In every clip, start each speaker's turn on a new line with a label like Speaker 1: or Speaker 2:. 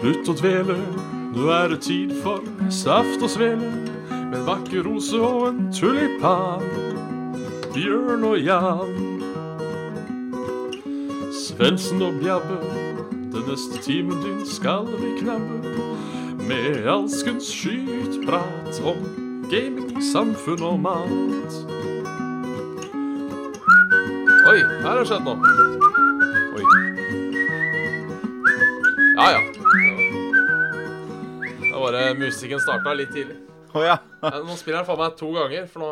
Speaker 1: Slutt å dvele, nå er det tid for saft og svele. Med en vakker rose og en tulipan. Bjørn og Jan. Svendsen og Bjabbe, den neste timen din skal vi knabbe. Med alskens skytprat om gaming, samfunn og mat. Oi, her har det skjedd noe. Oi. Ja, ja. Det var bare musikken starta litt tidlig.
Speaker 2: Å ja.
Speaker 1: Ja, Nå spiller den faen meg to ganger, for nå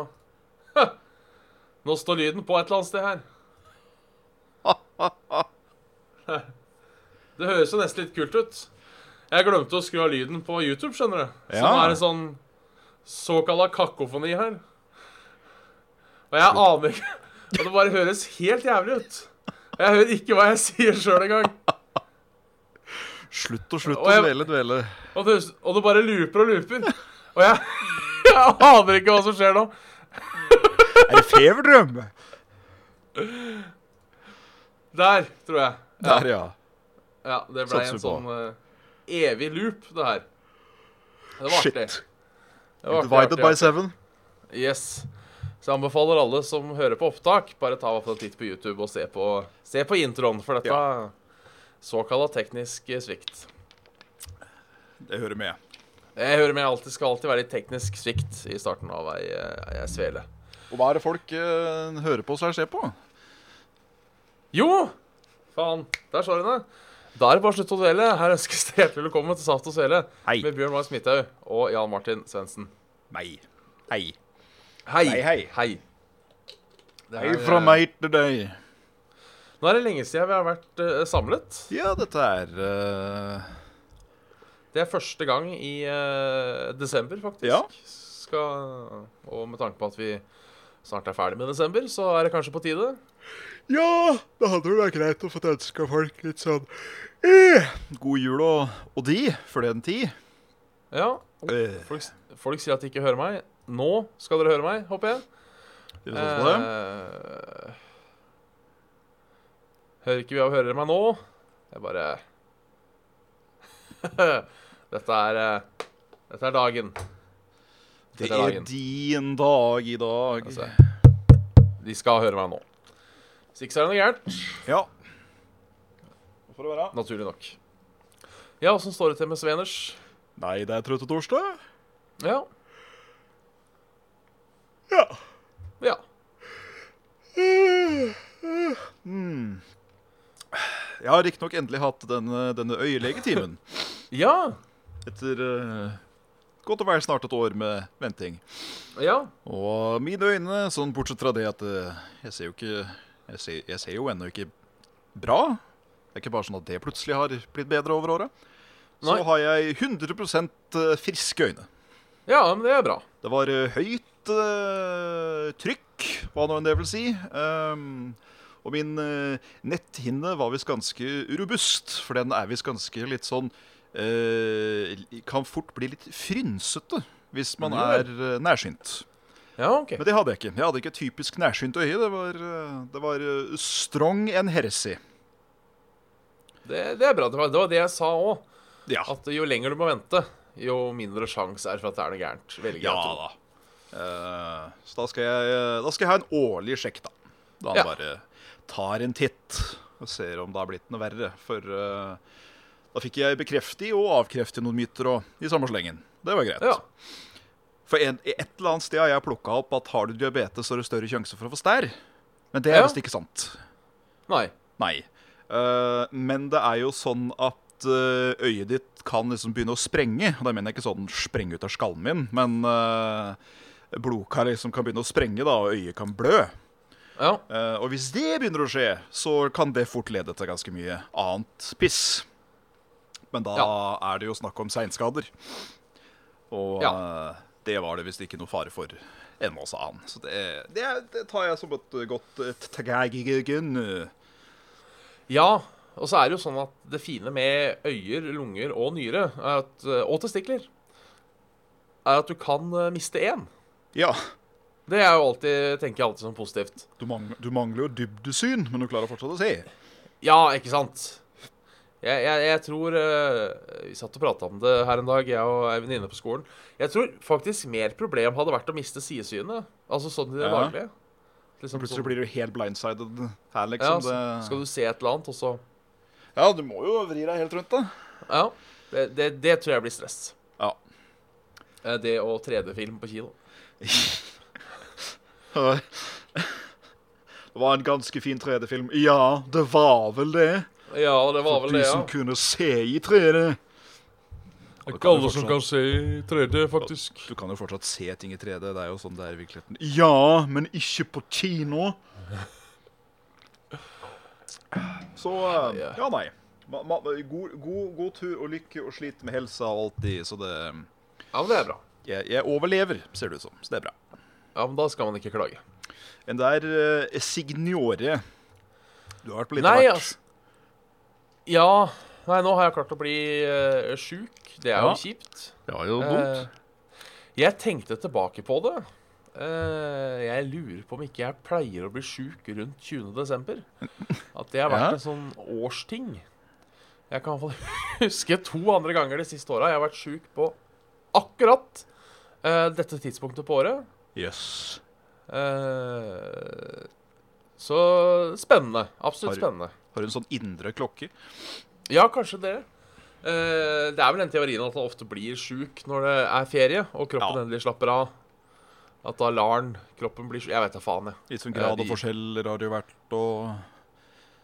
Speaker 1: Nå står lyden på et eller annet sted her. Det høres jo nesten litt kult ut. Jeg glemte å skru av lyden på YouTube, skjønner du. Så
Speaker 2: Ja.
Speaker 1: nå er det sånn såkalla kakofoni her. Og jeg aner ikke Og det bare høres helt jævlig ut. Og jeg hører ikke hva jeg sier sjøl engang.
Speaker 2: Slutt og slutt
Speaker 1: Og
Speaker 2: å
Speaker 1: jeg-
Speaker 2: dvele, dvele.
Speaker 1: Og det, og det bare looper og looper. Og jeg, jeg aner ikke hva som skjer nå.
Speaker 2: Er det feverdrøm?
Speaker 1: Der, tror jeg.
Speaker 2: Der, ja.
Speaker 1: Ja, Det ble
Speaker 2: Satser
Speaker 1: en
Speaker 2: vi på.
Speaker 1: sånn eh, evig loop, det her. Det var artig.
Speaker 2: Shit.
Speaker 1: Det var artig,
Speaker 2: Divided
Speaker 1: artig,
Speaker 2: by
Speaker 1: artig.
Speaker 2: seven.
Speaker 1: Yes. Så jeg anbefaler alle som hører på opptak, bare ta i hvert fall en titt på YouTube og se på, se på introen, for dette var såkalla teknisk eh, svikt.
Speaker 2: Det hører med.
Speaker 1: Jeg hører med, alltid skal alltid være litt teknisk svikt i starten av ei, eh, ei svele.
Speaker 2: Og hva er det folk eh, hører på seg ser på?
Speaker 1: Jo! Faen, der sa hun det. Da er det bare slutt å dvele. Her ønskes det hjertelig velkommen til Saft og Svele
Speaker 2: Hei.
Speaker 1: med Bjørn Magnus Midthaug og Jan Martin Svendsen.
Speaker 2: Nei. Hei.
Speaker 1: Hei.
Speaker 2: Hei, hei.
Speaker 1: Det
Speaker 2: Hei
Speaker 1: er,
Speaker 2: fra
Speaker 1: eh,
Speaker 2: meg til deg.
Speaker 1: Nå er det lenge siden vi har vært eh, samlet.
Speaker 2: Ja, dette er eh,
Speaker 1: Det er første gang i eh, desember, faktisk.
Speaker 2: Ja.
Speaker 1: Skal, og med tanke på at vi snart er ferdig med desember, så er det kanskje på tide.
Speaker 2: Ja, det hadde vel vært greit å få ønska folk litt sånn eh, God jul og, og de, for den tid.
Speaker 1: Ja.
Speaker 2: Eh,
Speaker 1: Folk, folk sier at de ikke hører meg. Nå skal dere høre meg, håper jeg.
Speaker 2: skal vi satse på det?
Speaker 1: Eh, Hører ikke vi av hører dere meg nå? Jeg bare Dette er eh, Dette er dagen.
Speaker 2: Det
Speaker 1: dette er
Speaker 2: er
Speaker 1: dagen.
Speaker 2: din dag i dag.
Speaker 1: Altså, de skal høre meg nå. Hvis ikke så er det noe gærent.
Speaker 2: Ja. Hva får det være?
Speaker 1: Naturlig nok. Ja, åssen står det til med Sveners?
Speaker 2: Nei, det er trøtte torsdag.
Speaker 1: Ja.
Speaker 2: Ja.
Speaker 1: Ja.
Speaker 2: Mm. Jeg har riktignok endelig hatt denne, denne øyelegetimen.
Speaker 1: Ja.
Speaker 2: Etter eh, godt og vel snart et år med venting.
Speaker 1: ja.
Speaker 2: Og mine øyne, sånn bortsett fra det at eh, jeg ser jo ikke Jeg ser, jeg ser jo ennå ikke bra. Det er ikke bare sånn at det plutselig har blitt bedre over åra. Så
Speaker 1: Nei.
Speaker 2: har jeg 100 friske øyne.
Speaker 1: Ja, men det er bra.
Speaker 2: Det var eh, høyt eh, trykk, hva nå enn det vil si. Ehm, og min eh, netthinne var visst ganske robust, for den er visst ganske litt sånn eh, Kan fort bli litt frynsete hvis man
Speaker 1: Ja.
Speaker 2: er eh, nærsynt.
Speaker 1: Ja, OK.
Speaker 2: Men det hadde jeg ikke. Jeg hadde ikke et typisk nærsynt øye. Det var, eh, det var eh, strong and heresy.
Speaker 1: Det, det er bra. Det var det, var det jeg sa òg.
Speaker 2: Ja,
Speaker 1: At jo lenger du må vente, jo mindre sjanse er for at det er noe gærent. Velger jeg
Speaker 2: ja
Speaker 1: å tro.
Speaker 2: da. Eh, så da skal, jeg, eh, da skal jeg ha en årlig sjekk, da. Da han
Speaker 1: Ja.
Speaker 2: bare tar en titt og ser om det har blitt noe verre. For eh, da fikk jeg bekrefte og avkrefte noen myter og, i samme slengen. Det var greit.
Speaker 1: Ja.
Speaker 2: For en, i et eller annet sted har jeg plukka opp at har du diabetes, så er det større sjanse for å få stær. Men det er
Speaker 1: Ja.
Speaker 2: visst ikke sant.
Speaker 1: Nei.
Speaker 2: Nei. Eh, men det er jo sånn at eh, øyet ditt kan liksom begynne å sprenge. Og Da mener jeg ikke sånn sprenge ut av skallen min, men eh, blodkar liksom kan begynne å sprenge, da, og øyet kan blø.
Speaker 1: Ja.
Speaker 2: Eh, og hvis det begynner å skje, så kan det fort lede til ganske mye annet piss. Men da er det jo snakk om seinskader. Og eh, det var det visst ikke noe fare for ennå, sa han. Så det, det, det tar jeg som et godt eh, tegn.
Speaker 1: ja. Og så er det jo sånn at det fine med øyer, lunger og nyre, er at, og testikler, er at du kan eh, miste én.
Speaker 2: Ja.
Speaker 1: Det er jo alltid, tenker jeg alltid som positivt.
Speaker 2: Du, mangler jo dybdesyn, men du klarer fortsatt å se.
Speaker 1: Ja, ikke sant?
Speaker 3: Jeg, jeg, jeg tror eh, Vi satt og prata om det her en dag, jeg og ei venninne på skolen. Jeg tror faktisk mer problem hadde vært å miste sidesynet. Altså sånn i det
Speaker 2: Ja.
Speaker 3: daglige. Liksom
Speaker 2: Plutselig
Speaker 3: sånn-
Speaker 2: blir du helt blindsided her,
Speaker 3: ja,
Speaker 2: liksom.
Speaker 3: så
Speaker 2: det...
Speaker 3: Skal du se et eller annet, og så
Speaker 2: ja, du må jo vri deg helt rundt, da.
Speaker 3: Ja. Det, det, det tror jeg blir stress.
Speaker 2: Ja.
Speaker 3: Eh, Det og 3D-film på kino.
Speaker 2: Det var en ganske fin 3D-film. Ja, det var vel det.
Speaker 3: Ja, det var vel
Speaker 2: de
Speaker 3: det, ja.
Speaker 2: som kunne se i 3D.
Speaker 1: Det er
Speaker 2: kan
Speaker 1: ikke
Speaker 2: jo
Speaker 1: alle som kan
Speaker 2: fortsatt-
Speaker 1: se i 3D, faktisk.
Speaker 2: Du kan jo fortsatt se ting i 3D. Det er jo sånn det er i virkeligheten. Ja, men ikke på kino. Så eh,
Speaker 3: Ja.
Speaker 2: Ja, nei. Ma, ma, god, god, god tur og lykke og slit med helsa og alt det, så det
Speaker 3: Ja, men det er bra.
Speaker 2: jeg, jeg overlever, ser det ut som. Så det er bra.
Speaker 3: Ja, men da skal man ikke klage.
Speaker 2: En der eh, Signore Du har vært på litt av
Speaker 3: Nei,
Speaker 2: hvert.
Speaker 3: altså. Ja. Nei, nå har jeg klart å bli uh, sjuk. Det er
Speaker 2: Ja.
Speaker 3: jo kjipt.
Speaker 2: Ja, jo,
Speaker 3: Eh, jeg tenkte tilbake på det. Eh, jeg lurer på om ikke jeg pleier å bli sjuk rundt 20. desember. At det har vært
Speaker 2: Ja.
Speaker 3: en sånn årsting. Jeg kan i hvert fall huske to andre ganger de siste åra jeg har vært sjuk på akkurat eh, dette tidspunktet på året.
Speaker 2: Jøss.
Speaker 3: Eh, så spennende. Absolutt
Speaker 2: Har-
Speaker 3: spennende.
Speaker 2: Har du en sånn indre klokke?
Speaker 3: Ja, kanskje det. Eh, det er vel den teorien at han ofte blir sjuk når det er ferie, og kroppen
Speaker 2: Ja.
Speaker 3: endelig slapper av. At da lar han kroppen bli sjuk. Jeg vet da faen, jeg.
Speaker 2: Litt sånn
Speaker 3: Eh,
Speaker 2: grad
Speaker 3: de-
Speaker 2: og forskjeller har det jo vært, og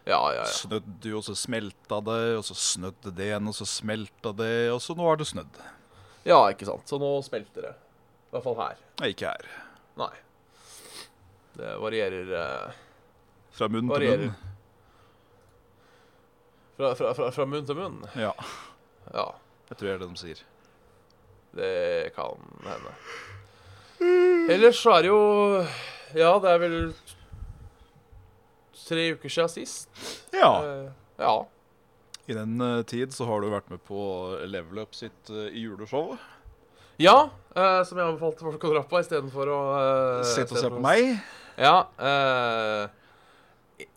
Speaker 3: Ja, ja, ja.
Speaker 2: snødde jo, og så smelta det, og så snødde det igjen, og så smelta det, og så nå har det snødd.
Speaker 3: ja, ikke sant. Så nå smelter det. I hvert fall her.
Speaker 2: Nei, ikke her.
Speaker 3: Nei. Det varierer eh,
Speaker 2: Fra munn
Speaker 3: Varierer.
Speaker 2: til munn.
Speaker 3: fra, fra, fra, fra munn til munn.
Speaker 2: Ja,
Speaker 3: Ja,
Speaker 2: jeg tror det er det de sier.
Speaker 3: det kan hende. Ellers så er det jo Ja, det er vel tre uker siden sist.
Speaker 2: Ja,
Speaker 3: Eh, ja.
Speaker 2: i den eh, tid så har du vært med på Level Up sitt eh, juleshow.
Speaker 3: Ja, eh, som jeg anbefalte folk å dra på istedenfor å eh,
Speaker 2: Sitt og se
Speaker 3: istedenfor
Speaker 2: på
Speaker 3: å-
Speaker 2: meg.
Speaker 3: Ja, eh,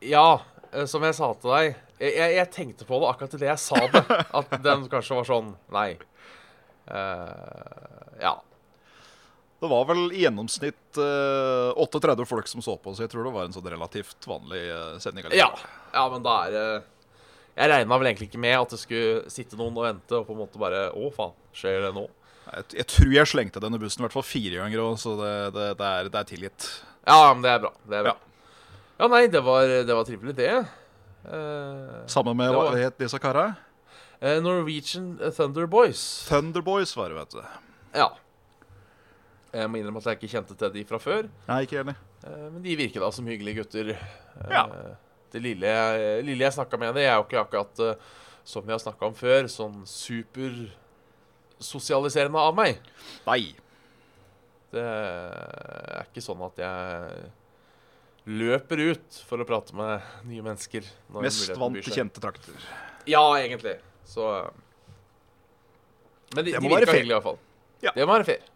Speaker 3: ja eh, som jeg sa til deg jeg, jeg, jeg tenkte på det akkurat til det jeg sa det. At den kanskje var sånn Nei. Eh, ja.
Speaker 2: Det var vel i gjennomsnitt eh, 38 folk som så på, så jeg tror det var en sånn relativt vanlig eh, sending.
Speaker 3: ja. Ja, men da er det Jeg regna vel egentlig ikke med at det skulle sitte noen og vente og på en måte bare Å, faen, skjer det nå?
Speaker 2: Jeg, jeg tror jeg slengte denne bussen i hvert fall fire ganger òg, så det, det, det, er, det er tilgitt.
Speaker 3: Ja, men det er bra. Det er bra.
Speaker 2: Ja.
Speaker 3: Ja, nei, det var, det var trivelig, det. Eh,
Speaker 2: Sammen med
Speaker 3: Det
Speaker 2: hva
Speaker 3: var-
Speaker 2: het disse kara?
Speaker 3: eh, Norwegian Thunder Boys.
Speaker 2: Thunderboys var det, vet du.
Speaker 3: Ja. Jeg må innrømme at jeg ikke kjente til de fra før,
Speaker 2: Nei, ikke enig.
Speaker 3: eh, men de virker da som hyggelige gutter. Eh,
Speaker 2: Ja.
Speaker 3: Det lille jeg, lille jeg snakka med dem, er jo ikke akkurat, eh, som vi har snakka om før, sånn supersosialiserende av meg.
Speaker 2: Nei.
Speaker 3: Det er ikke sånn at jeg løper ut for å prate med nye mennesker. når
Speaker 2: Mest
Speaker 3: muligheten
Speaker 2: vant
Speaker 3: byr
Speaker 2: til
Speaker 3: seg.
Speaker 2: kjente trakter.
Speaker 3: Ja, egentlig. Så eh, Men de,
Speaker 2: Det
Speaker 3: de
Speaker 2: må være
Speaker 3: virka
Speaker 2: fair.
Speaker 3: hyggelige, iallfall.
Speaker 2: Ja.
Speaker 3: Det må være fair.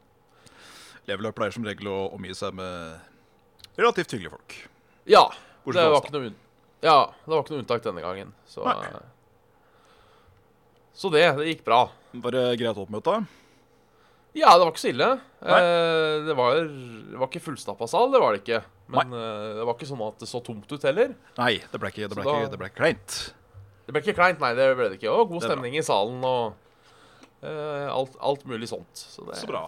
Speaker 2: Level Up pleier som regel å omgi seg med relativt hyggelige folk.
Speaker 3: Ja.
Speaker 2: Bortsett
Speaker 3: det
Speaker 2: fra
Speaker 3: var
Speaker 2: oss,
Speaker 3: ikke noe unn... Ja, det var ikke noe unntak denne gangen. Så, eh,
Speaker 2: Nei.
Speaker 3: så det, det gikk bra.
Speaker 2: da. Var det greit oppmøte?
Speaker 3: Ja, det var ikke så ille.
Speaker 2: Nei.
Speaker 3: Eh, det, var, det var ikke fullstappa sal, det var det ikke. Men eh, det var ikke sånn at det så tomt ut heller.
Speaker 2: Nei, det ble ikke, det
Speaker 3: Så
Speaker 2: ble
Speaker 3: da-
Speaker 2: ikke, det ble ikke kleint.
Speaker 3: Det ble ikke kleint, nei. det ble det ikke. Og
Speaker 2: Det
Speaker 3: god
Speaker 2: er bra.
Speaker 3: stemning i salen og eh, alt, alt mulig sånt. Så, det,
Speaker 2: Så bra.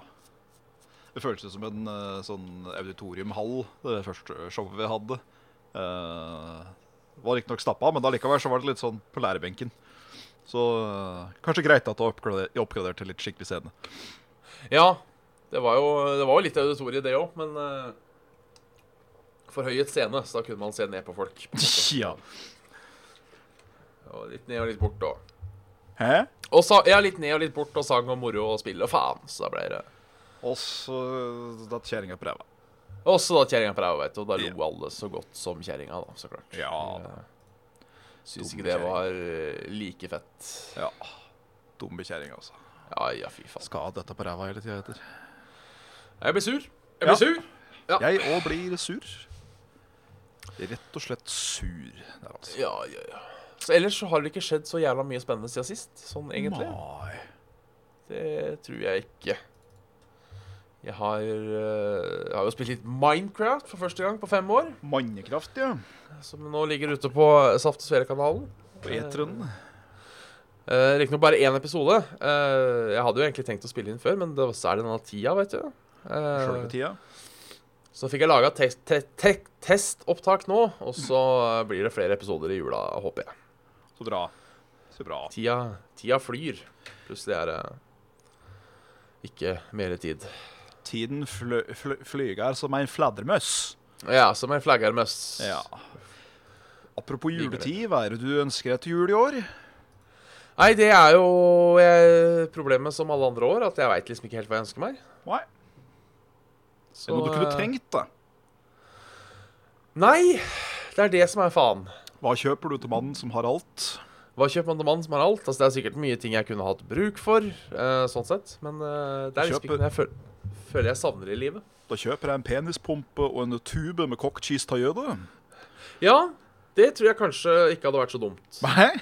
Speaker 2: Det føltes som en eh, sånn auditoriumhall, det første showet vi hadde. Uh, var riktignok stappa, men allikevel så var det litt sånn på lærebenken. Så eh, kanskje greit at det var oppgrader- oppgradert til litt skikkelig scene.
Speaker 3: Ja, det var jo, det var jo litt auditoriet, det òg, men eh, forhøyet scene, så da kunne man se ned på folk. på en måte.
Speaker 2: Ja.
Speaker 3: Og litt ned og litt bort og
Speaker 2: Hæ?
Speaker 3: Og sa, ja, litt ned og litt bort og sang og moro og spill og faen. Så da ble det
Speaker 2: Og så eh, datt kjerringa på ræva.
Speaker 3: Også da kjerringa på ræva, vet du. Og da lo
Speaker 2: Ja.
Speaker 3: alle så godt som kjerringa, da, så klart.
Speaker 2: Ja.
Speaker 3: Syns
Speaker 2: Dum
Speaker 3: ikke det
Speaker 2: kjerring.
Speaker 3: var eh, like fett.
Speaker 2: Ja. Dumme kjerring, altså.
Speaker 3: Ja, ja, fy faen.
Speaker 2: Skal dette på ræva hele tida etter.
Speaker 3: Jeg blir sur. Jeg
Speaker 2: Ja.
Speaker 3: blir sur. Ja.
Speaker 2: Jeg òg blir sur. Rett og slett sur. Der, altså.
Speaker 3: Ja, ja, ja. Så ellers så har det ikke skjedd så jævla mye spennende siden sist, sånn egentlig.
Speaker 2: Nei.
Speaker 3: Det tror jeg ikke. Jeg har, eh, jeg har jo spilt litt Minecraft for første gang på fem år.
Speaker 2: Mannekraft, ja.
Speaker 3: Som nå ligger ute på Saft og Svele-kanalen.
Speaker 2: På eteren.
Speaker 3: Uh, Riktignok bare én episode. Eh, jeg hadde jo egentlig tenkt å spille inn før, men det var særlig denne tida, vet du. Eh,
Speaker 2: Sjølve tida.
Speaker 3: så fikk jeg laga te te te testopptak nå, og så eh, blir det flere episoder i jula, håper jeg.
Speaker 2: Så bra. Så bra.
Speaker 3: Tida, tida flyr. Plutselig er det ikke mer tid.
Speaker 2: Tiden flø flø flyger som en fladdermøss.
Speaker 3: Ja, som en flaggermøss.
Speaker 2: Ja. Apropos juletid, hva er det du ønsker deg til jul i år?
Speaker 3: Nei, det er jo eh, problemet som alle andre år, at jeg veit liksom ikke helt hva jeg ønsker meg.
Speaker 2: Nei, det
Speaker 3: Så,
Speaker 2: er noe du kunne
Speaker 3: eh,
Speaker 2: trengt, da.
Speaker 3: Nei! Det er det som er faen.
Speaker 2: Hva kjøper du til mannen som har alt?
Speaker 3: Hva kjøper man til mannen som har alt? Altså, det er sikkert mye ting jeg kunne hatt bruk for, eh, sånn sett. Men eh, det er liksom
Speaker 2: Kjøper-
Speaker 3: ikke noe jeg føl føler jeg savner i livet.
Speaker 2: Da kjøper jeg en penispumpe og en tube med cock cheese tajøde.
Speaker 3: Ja, det tror jeg kanskje ikke hadde vært så dumt.
Speaker 2: Nei?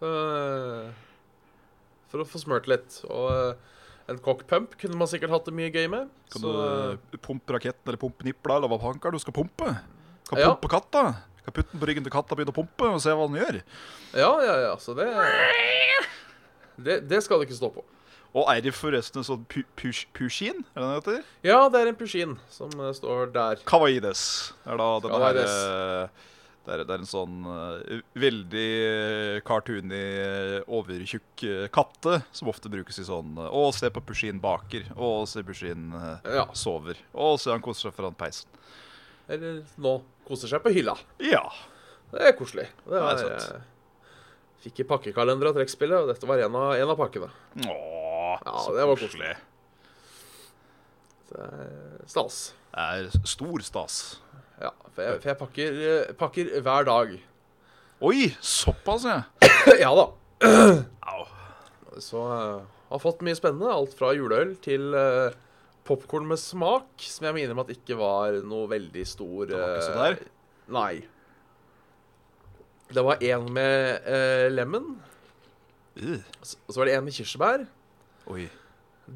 Speaker 3: Eh, for å få smurt litt. Og eh, en cockpump kunne man sikkert hatt det mye gøy med.
Speaker 2: Kan
Speaker 3: Så,
Speaker 2: du eh, pumpe raketten eller pumpe nipla eller hva panker du skal pumpe? Kan
Speaker 3: Ja.
Speaker 2: pumpe katta. Kan putte den på ryggen til katta og begynne å pumpe og se hva den gjør.
Speaker 3: ja, ja, ja. Så det Det, det skal det ikke stå på.
Speaker 2: Og Eirif forresten en sånn pu push pushin, er det den heter?
Speaker 3: Ja, det er en pushin som eh, står der.
Speaker 2: Kawaides. Det er da denne her
Speaker 3: Kawaides.
Speaker 2: eh, det er, det er en sånn eh, veldig eh, cartoony, eh, overtjukk eh, katte som ofte brukes i sånn eh, Å, se på Pushin baker. Å, se Pushin eh,
Speaker 3: Ja.
Speaker 2: sover. Å, se han koser seg foran peisen.
Speaker 3: Eller nå koser seg på hylla.
Speaker 2: Ja.
Speaker 3: Det er koselig. Det
Speaker 2: Ja,
Speaker 3: var,
Speaker 2: det er sant.
Speaker 3: eh, Fikk i pakkekalender av trekkspillet, og dette var en av, en av pakkene.
Speaker 2: Åh,
Speaker 3: Ja,
Speaker 2: så
Speaker 3: det var
Speaker 2: koselig.
Speaker 3: Så det er Stas.
Speaker 2: Det er stor stas.
Speaker 3: Ja, for jeg, for jeg pakker, eh, pakker hver dag.
Speaker 2: Oi, såpass, ja.
Speaker 3: ja da.
Speaker 2: Au.
Speaker 3: Så eh, har fått mye spennende. Alt fra juleøl til uh, popkorn med smak, som jeg må innrømme at ikke var noe veldig stor
Speaker 2: Det var ikke så
Speaker 3: eh,
Speaker 2: der?
Speaker 3: Nei. Det var en med eh, lemon,
Speaker 2: Uh,
Speaker 3: og så og så var det en med kirsebær.
Speaker 2: oi.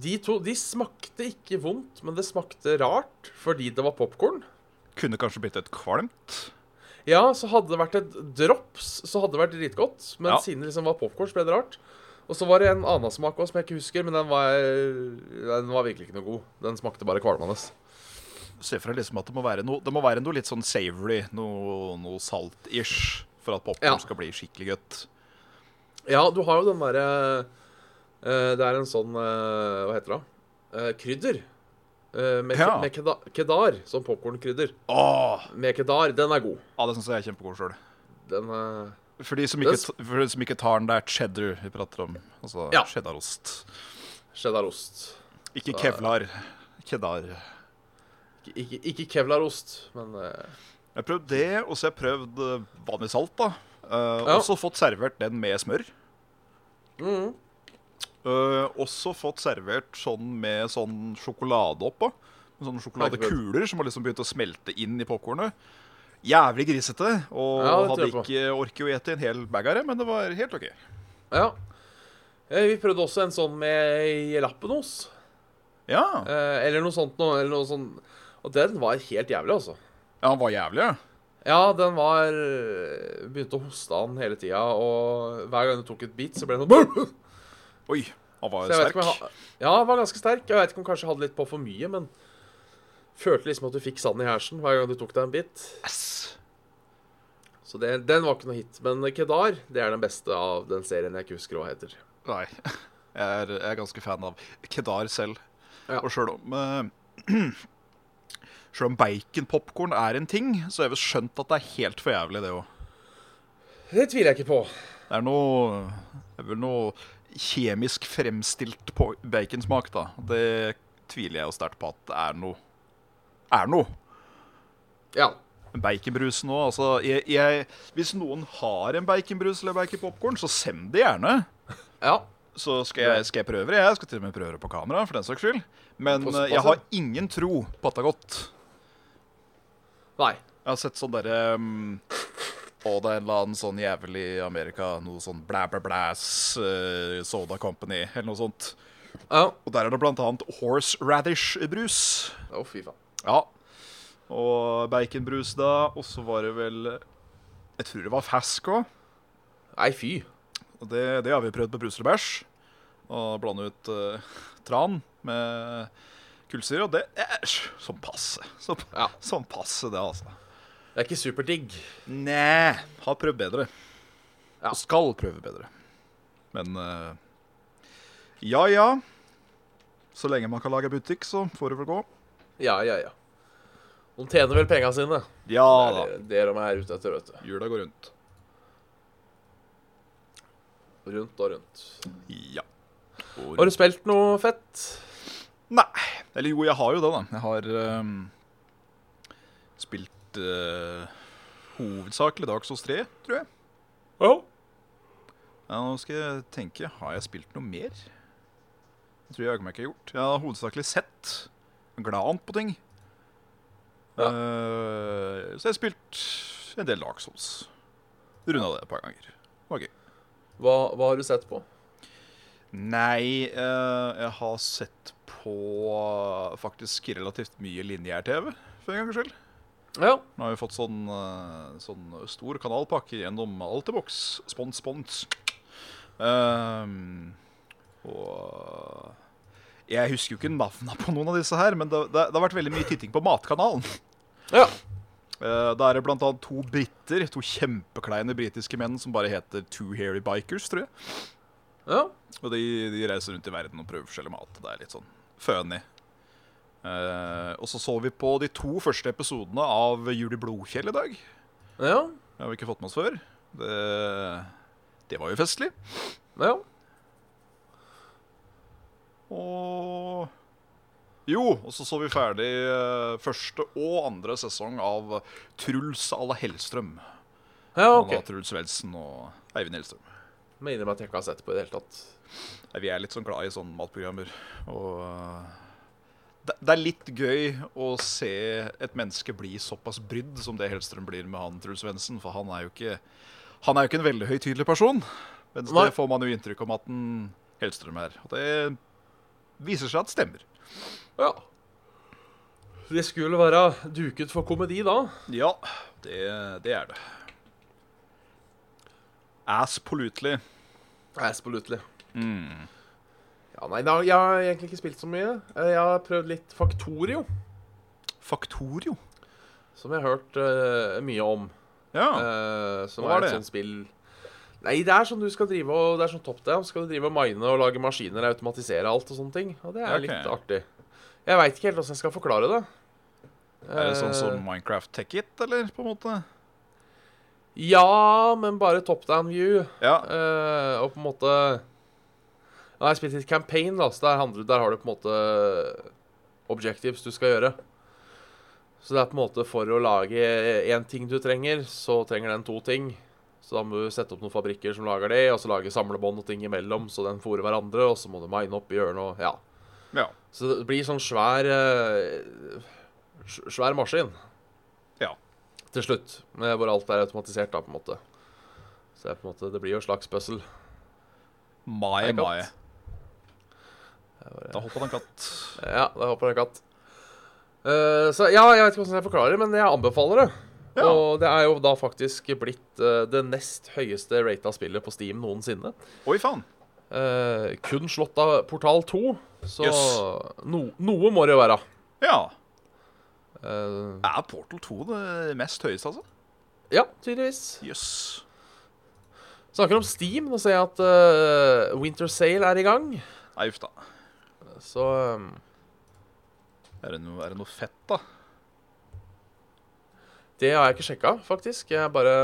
Speaker 3: De to de smakte ikke vondt, men det smakte rart fordi det var popkorn.
Speaker 2: Kunne kanskje blitt et kvalmt.
Speaker 3: Ja, så hadde det vært et drops, så hadde det vært dritgodt. Men
Speaker 2: Ja.
Speaker 3: siden det liksom var popkorn, så ble det rart. Og så var det en annen smak også, som jeg ikke husker, men den var, den var virkelig ikke noe god. Den smakte bare kvalmende.
Speaker 2: Se for deg liksom at det må være noe, det må være noe litt sånn savory, noe, noe salt-ish, for at popkorn
Speaker 3: Ja.
Speaker 2: skal bli skikkelig godt.
Speaker 3: Ja, du har jo den derre eh, Det er en sånn eh, Hva heter det? Eh, krydder. Eh, med,
Speaker 2: Ja.
Speaker 3: med keda, kedar. Sånn popkornkrydder.
Speaker 2: Åh,
Speaker 3: Med kedar. Den er god.
Speaker 2: ja, det syns jeg er kjempegod sjøl.
Speaker 3: Den eh,
Speaker 2: For de som
Speaker 3: Det
Speaker 2: ikke,
Speaker 3: s-
Speaker 2: for de som ikke tar den, det er cheddar vi prater om. Altså
Speaker 3: Ja.
Speaker 2: cheddarost.
Speaker 3: cheddarost.
Speaker 2: Ikke
Speaker 3: Så-
Speaker 2: kevlar. Kedar.
Speaker 3: Ikke, ikke, ikke kevlarost, men eh,
Speaker 2: Jeg har prøvd det, og så har jeg prøvd eh, vanlig salt. da. Eh,
Speaker 3: Ja.
Speaker 2: Også fått servert den med smør.
Speaker 3: mm,
Speaker 2: Eh, også fått servert sånn med sånn sjokolade oppå. Med sånne sjokoladekuler som har liksom begynt å smelte inn i popkornet. Jævlig grisete. Og
Speaker 3: Ja, det
Speaker 2: hadde
Speaker 3: tror jeg på.
Speaker 2: ikke orket å ete en hel bag av det, men det var helt OK.
Speaker 3: Ja. Eh, Vi prøvde også en sånn med jalapeños.
Speaker 2: Ja,
Speaker 3: eh, Eller noe sånt noe. Eller noe sånn. Og den var helt jævlig, altså.
Speaker 2: ja han var jævlig, ja.
Speaker 3: Ja, den var eh, Begynte å hoste av den hele tida, og hver gang du tok et bit, så ble den sånn
Speaker 2: Oi, han
Speaker 3: Så
Speaker 2: var
Speaker 3: jeg vet ikke
Speaker 2: sterk.
Speaker 3: om jeg ha... Ja, den var ganske sterk. Jeg vet ikke om kanskje jeg hadde litt på for mye, men følte liksom at du fikk sand i hersen hver gang du tok deg en bit.
Speaker 2: Yes.
Speaker 3: Så det, den var ikke noe hit. Men Kedar, det er den beste av den serien jeg ikke husker hva heter.
Speaker 2: Nei, jeg er, jeg er ganske fan av Kedar selv.
Speaker 3: Ja.
Speaker 2: Og sjøl om eh, Sjøl om baconpopkorn er en ting, så har jeg vel skjønt at det er helt for jævlig, det òg.
Speaker 3: Det tviler jeg ikke på.
Speaker 2: Det er noe Det er vel noe kjemisk fremstilt på- baconsmak, da. Det tviler jeg jo sterkt på at det er noe. Er noe.
Speaker 3: Ja.
Speaker 2: Men Baconbrus nå, altså jeg, jeg, Hvis noen har en baconbrus eller baconpopkorn, så send det gjerne.
Speaker 3: Ja.
Speaker 2: Så skal jeg, skal jeg prøve det. Jeg skal til og med prøve det på kamera, for den saks skyld. Men
Speaker 3: Pass-
Speaker 2: eh, jeg
Speaker 3: pass
Speaker 2: har
Speaker 3: deg.
Speaker 2: ingen tro på at det er godt.
Speaker 3: Nei.
Speaker 2: Jeg har sett sånn derre um, Og det er en eller annen sånn jævel i Amerika, noe sånn blæ, blæ, blæs, eh, Soda Company, eller noe sånt.
Speaker 3: Ja.
Speaker 2: Og der er det blant annet horseradish-brus.
Speaker 3: Å, fy faen.
Speaker 2: Ja. Og baconbrus da, og så var det vel Jeg tror det var fask òg.
Speaker 3: Nei, fy.
Speaker 2: Og det, det har vi prøvd på brus eller bæsj. Og blande ut eh, tran med kullsyre. Og det er sj, sånn passe. Sånn,
Speaker 3: Ja.
Speaker 2: sånn passe, det, altså.
Speaker 3: Det er ikke superdigg.
Speaker 2: Nei. Har prøvd bedre.
Speaker 3: Ja.
Speaker 2: Og skal prøve bedre. Men eh, ja ja. Så lenge man kan lage butikk, så får det vel gå.
Speaker 3: Ja, ja, ja. De tjener vel penga sine.
Speaker 2: Ja
Speaker 3: det er det- det de er ute etter, vet du.
Speaker 2: Jula går rundt.
Speaker 3: Rundt og rundt.
Speaker 2: Ja. Og
Speaker 3: Har du spilt noe fett?
Speaker 2: Nei. Eller jo, jeg har jo det, da. Jeg har ehm, spilt eh, hovedsakelig Dark Souls 3, tror jeg.
Speaker 3: Ja.
Speaker 2: Ja, nå skal jeg tenke. Har jeg spilt noe mer? Det tror jeg jaggu meg ikke jeg har gjort. Jeg har hovedsakelig sett. Glant på ting.
Speaker 3: Ja.
Speaker 2: Eh, så jeg har spilt en del Dark Souls. Runda det et par ganger. Det var gøy.
Speaker 3: Hva, hva har du sett på?
Speaker 2: Nei, eh, jeg har sett på eh, faktisk relativt mye lineær-TV for en gangs skyld.
Speaker 3: Ja.
Speaker 2: Nå har vi fått sånn, eh, sånn stor kanalpakke gjennom Altibox. Spons, spons. Ehm, og Jeg husker jo ikke navnene på noen av disse her, men det, det, det har vært veldig mye titting på Matkanalen.
Speaker 3: Ja.
Speaker 2: Eh, Da er det blant annet to briter, to kjempekleine britiske menn som bare heter Two Hairy Bikers, tror jeg.
Speaker 3: Ja.
Speaker 2: Og de, de reiser rundt i verden og prøver forskjellig mat. Det er litt sånn fønig. Eh, og så så vi på de to første episodene av Jul i Blodfjell i dag. Det
Speaker 3: Ja.
Speaker 2: har vi ikke fått med oss før. Det, det var jo festlig.
Speaker 3: ja.
Speaker 2: Og Jo, og så så vi ferdig eh, første og andre sesong av Truls à la Hellstrøm.
Speaker 3: Ja,
Speaker 2: Han var
Speaker 3: OK.
Speaker 2: Truls Svendsen og Eivind Hellstrøm.
Speaker 3: Må innrømme at jeg ikke har sett på i det hele tatt.
Speaker 2: Nei, Vi er litt sånn glad i sånne matprogrammer. Og øh, det, det er litt gøy å se et menneske bli såpass brydd som det Hellstrøm blir med han Truls Svendsen, for han er jo ikke Han er jo ikke en veldig høytidelig person. Mens
Speaker 3: Nei.
Speaker 2: det får man jo inntrykk om at den Hellstrøm er. Og det viser seg at stemmer.
Speaker 3: Ja. Det skulle være duket for komedi, da.
Speaker 2: Ja, det, det er det. Ass polutelig.
Speaker 3: Absolutely.
Speaker 2: Mm.
Speaker 3: Ja, nei, da, jeg har egentlig ikke spilt så mye. Eh, Jeg har prøvd litt Faktorio,
Speaker 2: Faktorio.
Speaker 3: som jeg har hørt eh, mye om.
Speaker 2: Ja.
Speaker 3: Eh, som
Speaker 2: Hva er
Speaker 3: er et
Speaker 2: det?
Speaker 3: sånt spill Nei, det er sånn du skal drive og Det er sånn top down. Skal du drive og mine og lage maskiner og automatisere alt og sånne ting. Og det er
Speaker 2: Ja, ok.
Speaker 3: litt artig. Jeg veit ikke helt åssen jeg skal forklare det.
Speaker 2: er det sånn som
Speaker 3: Eh,
Speaker 2: Minecraft Tech It, eller? på en måte?
Speaker 3: Ja, men bare top down view.
Speaker 2: Ja.
Speaker 3: Eh, og på en måte ja, Jeg har spilt litt campaign, da, så der, handler, der har du på en måte objectives du skal gjøre. Så det er på en måte for å lage én ting du trenger, så trenger den to ting. Så da må du sette opp noen fabrikker som lager det, og så lage samlebånd og ting imellom, så den fôrer hverandre, og så må du mine opp i hjørnet og Ja.
Speaker 2: ja.
Speaker 3: Så det blir sånn svær eh, sj- Svær maskin.
Speaker 2: Ja.
Speaker 3: Til slutt. eh, Hvor alt er automatisert, da, på en måte. Så det, er på en måte, det blir jo en slags puzzle.
Speaker 2: Mai,
Speaker 3: Er det
Speaker 2: mai.
Speaker 3: katt?
Speaker 2: Da hoppa det en katt.
Speaker 3: Ja, da hopper det en katt. Eh, så ja, jeg vet ikke hvordan jeg forklarer, men jeg anbefaler det.
Speaker 2: Ja.
Speaker 3: Og det er jo da faktisk blitt eh, det nest høyeste rata spillet på Steam noensinne.
Speaker 2: Oi, faen.
Speaker 3: Eh, kun slått av Portal 2, så
Speaker 2: Jøss.
Speaker 3: no, noe må det jo være.
Speaker 2: Ja.
Speaker 3: Eh,
Speaker 2: Er Portal 2 det mest høyeste, altså?
Speaker 3: ja, tydeligvis.
Speaker 2: Jøss.
Speaker 3: Snakker om Steam, nå ser jeg at eh, Winter Sale er i gang.
Speaker 2: Nei, uff da.
Speaker 3: Så eh,
Speaker 2: Er det, noe, er det noe fett, da?
Speaker 3: det har jeg ikke sjekka, faktisk. Jeg bare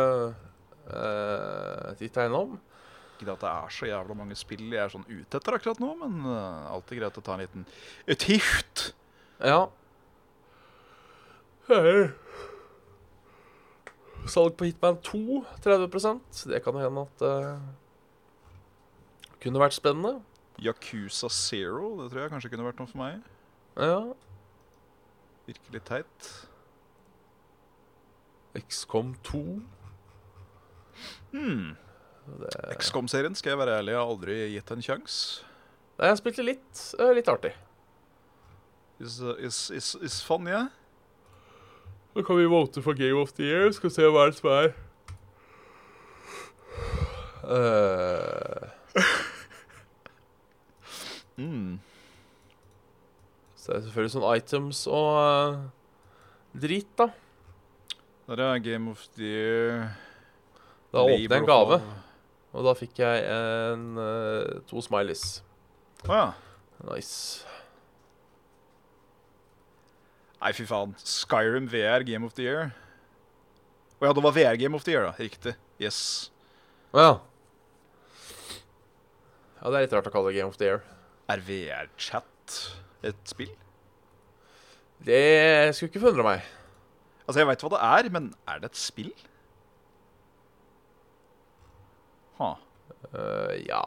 Speaker 3: uh, titta innom.
Speaker 2: Ikke det at det er så jævla mange spill jeg er sånn ute etter akkurat nå, men eh, alltid greit å ta en liten et hift.
Speaker 3: Ja. Hei. Salg på Hitman 2, 30 Det kan jo hende at det kunne vært spennende.
Speaker 2: Yakuza Zero, det tror jeg kanskje kunne vært noe for meg.
Speaker 3: Ja.
Speaker 2: Virkelig teit.
Speaker 3: XCOM 2.
Speaker 2: Hmm. XCOM-serien skal jeg være ærlig, jeg har aldri gitt en sjanse.
Speaker 3: Nei, Jeg spilte litt, eh, litt artig.
Speaker 2: Is, is, is, is fun, yeah.
Speaker 3: Nå kan vi vote for Game of the Year. Skal se hva det som er. Eh,
Speaker 2: Mm.
Speaker 3: så det er selvfølgelig sånn items og eh, drit, da.
Speaker 2: Der er Game of the Year.
Speaker 3: Da åpner jeg
Speaker 2: Labor
Speaker 3: en
Speaker 2: of
Speaker 3: gave,
Speaker 2: Love.
Speaker 3: og da fikk jeg en, eh, to smileys.
Speaker 2: Å ja.
Speaker 3: Nice.
Speaker 2: Nei, fy faen. Skyrim VR Game of the Year. Å ja, det var VR Game of the Year, da. Riktig. Yes.
Speaker 3: Å ja. Ja, det er litt rart å kalle det Game of the Year.
Speaker 2: Er VR-chat et spill?
Speaker 3: Det skulle ikke forundre meg.
Speaker 2: Altså, jeg veit hva det er, men er det et spill? Ha.
Speaker 3: Eh, ja.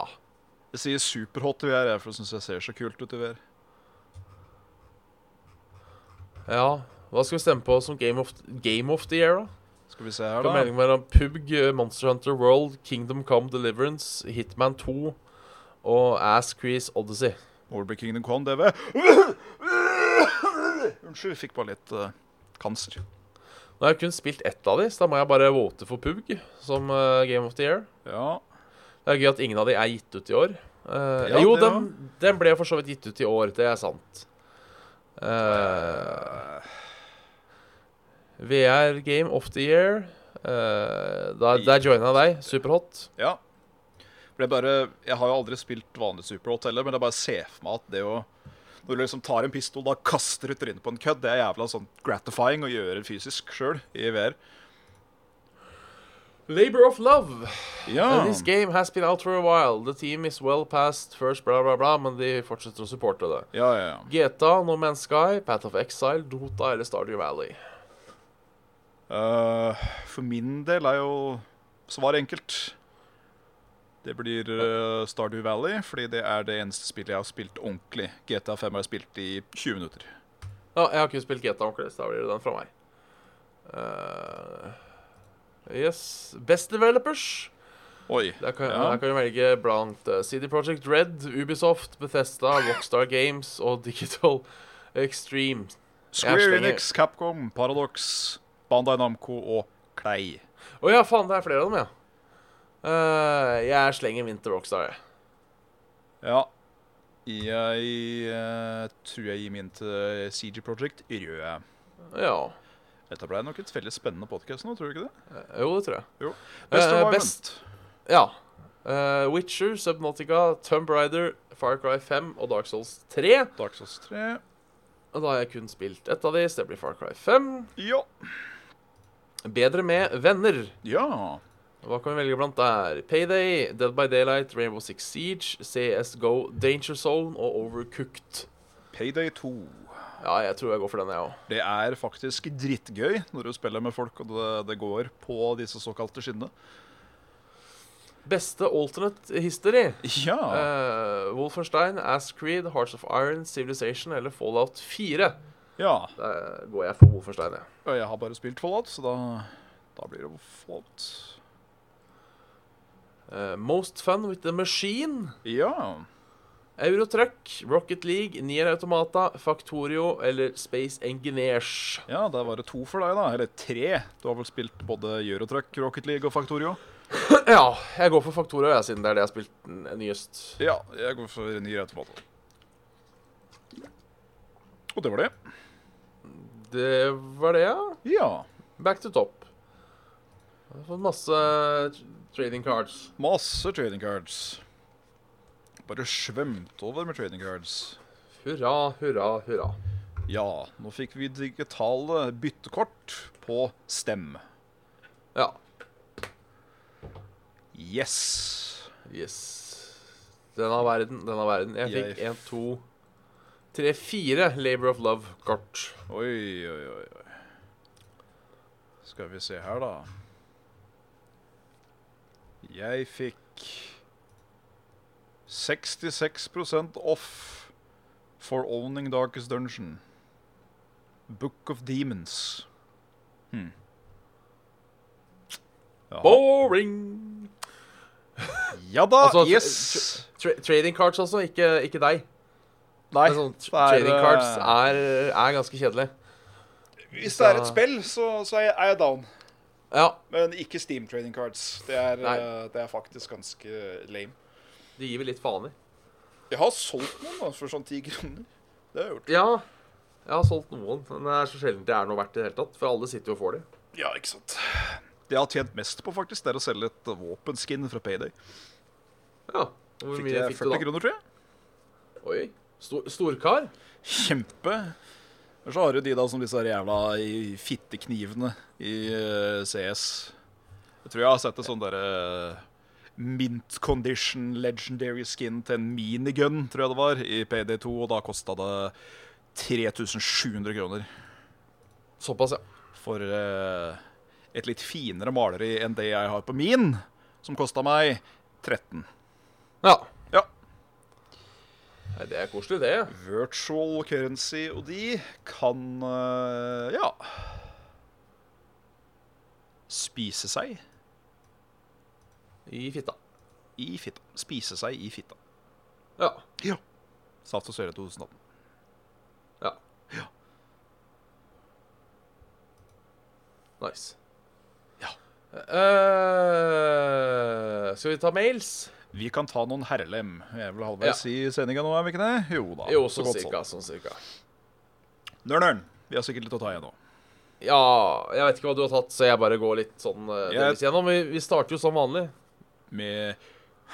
Speaker 2: Jeg sier superhot i VR, jeg, for jeg syns jeg ser så kult ut i VR.
Speaker 3: ja. Hva skal vi stemme på som Game of, game of the Year, da?
Speaker 2: Skal vi se her,
Speaker 3: Det er
Speaker 2: da.
Speaker 3: melding mellom PUBG, eh, Monster Hunter World, Kingdom Come Deliverance, Hitman 2 og Ass Crease Odyssey.
Speaker 2: Orby Kingdom Come, DV. Unnskyld, jeg fikk bare litt eh, kanser.
Speaker 3: Nå har jeg kun spilt ett av de, så da må jeg bare vote for PUBG som eh, Game of the Year.
Speaker 2: Ja.
Speaker 3: Det er gøy at ingen av de er gitt ut i år. Eh,
Speaker 2: Ja,
Speaker 3: jo,
Speaker 2: det
Speaker 3: den, den ble for så vidt gitt ut i år, det er sant. Eh,
Speaker 2: Eh,
Speaker 3: VR Game of the Year. eh, da, der joina deg. Superhot.
Speaker 2: Ja. For det er bare, jeg har jo aldri spilt vanlig Superhot heller, men jeg bare ser for meg at det å Når du liksom tar en pistol da kaster du trynet på en kødd, det er jævla sånn gratifying å gjøre fysisk sjøl i VR.
Speaker 3: Labor of Love.
Speaker 2: Ja.
Speaker 3: Uh, This game has been out for a while. The team is well past first bla, bla, bla, men de fortsetter å supporte det.
Speaker 2: ja, ja, ja.
Speaker 3: GTA, No Man's Sky, Path of Exile, Dota eller Stardew Valley.
Speaker 2: Eh, for min del er jo svaret enkelt. Det blir eh, Stardew Valley, fordi det er det eneste spillet jeg har spilt ordentlig. GTA5 har jeg spilt i 20 minutter.
Speaker 3: Ja, jeg har ikke spilt GTA ordentlig, så da blir det den fra meg. Eh, yes. Best Developers.
Speaker 2: Oi.
Speaker 3: Der kan,
Speaker 2: Ja.
Speaker 3: der kan vi velge blant eh, CD Projekt Red, Ubisoft, Bethesda, Rockstar Games og Digital Extreme.
Speaker 2: Square
Speaker 3: slenger-
Speaker 2: Enix, Capcom, Paradox, Bandai Namco og Klei.
Speaker 3: Å ja, faen, det er flere av dem, ja. Eh, jeg slenger min til Rockstar, jeg.
Speaker 2: Ja. Jeg eh, tror jeg gir min til CG Project Røde.
Speaker 3: Ja.
Speaker 2: Dette ble nok et veldig spennende podkast nå, tror du ikke det?
Speaker 3: Eh, Jo, det tror jeg.
Speaker 2: Jo.
Speaker 3: Eh,
Speaker 2: Best environment.
Speaker 3: best- Ja. Eh, Witcher, Subnotica, Tomb Raider, Far Cry 5 og Dark Souls 3.
Speaker 2: Dark Souls 3.
Speaker 3: Og da har jeg kun spilt ett av de, så det blir Far Cry 5.
Speaker 2: Ja.
Speaker 3: Bedre med venner.
Speaker 2: ja.
Speaker 3: Hva kan vi velge blant der? Payday, Dead by Daylight, Rainbow Six Siege, CSGO, Danger Zone og Overcooked.
Speaker 2: Payday 2.
Speaker 3: Ja, jeg tror jeg går for den, jeg òg.
Speaker 2: Det er faktisk drittgøy når du spiller med folk og det, det går på disse såkalte skinnene.
Speaker 3: Beste alternate history?
Speaker 2: Ja.
Speaker 3: Eh, Wolfenstein, Ass Creed, Hearts of Iron, Civilization eller Fallout 4.
Speaker 2: ja.
Speaker 3: Der går jeg for Wolfenstein, jeg.
Speaker 2: Og jeg har bare spilt Fallout, så da, da blir det Fallout.
Speaker 3: Eh, most Fun with the Machine.
Speaker 2: Ja.
Speaker 3: Eurotruck, Rocket League, Nier Automata, Factorio eller Space Engineers.
Speaker 2: Ja, der var det to for deg, da. Eller tre. Du har vel spilt både Eurotruck, Rocket League og Factorio?
Speaker 3: Ja, jeg går for Factorio, jeg, siden det er det jeg har spilt n- nyest.
Speaker 2: Ja, jeg går for ny automat. Og det var det.
Speaker 3: Det var det, ja.
Speaker 2: Ja.
Speaker 3: Back to top. Jeg har fått masse trading cards.
Speaker 2: Masse trading cards. Bare svømte over med trading cards.
Speaker 3: Hurra, hurra, hurra.
Speaker 2: Ja, nå fikk vi digitale byttekort på Stem.
Speaker 3: Ja.
Speaker 2: Yes.
Speaker 3: Yes. Den av verden, den av verden. Jeg
Speaker 2: Jeg
Speaker 3: fikk én, to, tre, fire Labor of Love-kort.
Speaker 2: Oi, oi, oi. oi. Skal vi se her, da. Jeg fikk 66 off for owning Darkest Dungeon. Book of Demons. Hm.
Speaker 3: Boring!
Speaker 2: Ja da,
Speaker 3: Altså,
Speaker 2: yes!
Speaker 3: Tra trading cards også, ikke, ikke deg.
Speaker 2: Nei,
Speaker 3: Men sånn,
Speaker 2: det
Speaker 3: tr- trading
Speaker 2: eh,
Speaker 3: cards er, er ganske kjedelig.
Speaker 2: Hvis det er et spill, så, så er jeg- er jeg down.
Speaker 3: Ja,
Speaker 2: Men ikke Steam trading cards. Det er,
Speaker 3: Nei.
Speaker 2: eh, det er faktisk ganske lame.
Speaker 3: de gir vel litt faen i.
Speaker 2: Jeg har solgt noen da, for sånn ti kroner. Det har jeg gjort.
Speaker 3: Ja, jeg har solgt noen, men det er så sjelden det er noe verdt i det hele tatt. For alle sitter jo og får det.
Speaker 2: Ja, ikke sant. Det jeg har tjent mest på, faktisk, det er å selge et våpenskin fra Payday.
Speaker 3: Ja, Hvor
Speaker 2: Fikk
Speaker 3: mye
Speaker 2: jeg
Speaker 3: fikk
Speaker 2: 40
Speaker 3: du da?
Speaker 2: kroner, tror jeg.
Speaker 3: Oi, stor, Storkar?
Speaker 2: Kjempe. Og så har du de da som disse her jævla i- fitteknivene i eh, CS. Jeg tror jeg har sett et sånn derre mint condition legendary skin til en minigun, tror jeg det var, i PD2, og da kosta det 3700 kroner.
Speaker 3: Såpass, ja.
Speaker 2: for eh, et litt finere maleri enn det jeg har på min, som kosta meg 13.
Speaker 3: Ja.
Speaker 2: Ja.
Speaker 3: Nei, det er koselig, det.
Speaker 2: Virtual currency og de kan eh, ja spise seg
Speaker 3: I fitta.
Speaker 2: i fitta. Spise seg i fitta.
Speaker 3: Ja.
Speaker 2: Saft og søre 2018.
Speaker 3: Ja. Nice.
Speaker 2: Ja.
Speaker 3: Eh, skal vi ta mails?
Speaker 2: Vi kan ta noen herrelem. Vi er vel halvveis i sendinga nå, er vi ikke det? Jo da.
Speaker 3: jo,
Speaker 2: så
Speaker 3: sånn
Speaker 2: godt
Speaker 3: cirka, sånn cirka.
Speaker 2: sånn. Nørn, nørn. Vi har sikkert litt å ta igjen nå.
Speaker 3: Ja, jeg vet ikke hva du har tatt, så jeg bare går litt sånn eh,
Speaker 2: Jeg-
Speaker 3: delvis gjennom. Vi, vi starter jo som vanlig.
Speaker 2: med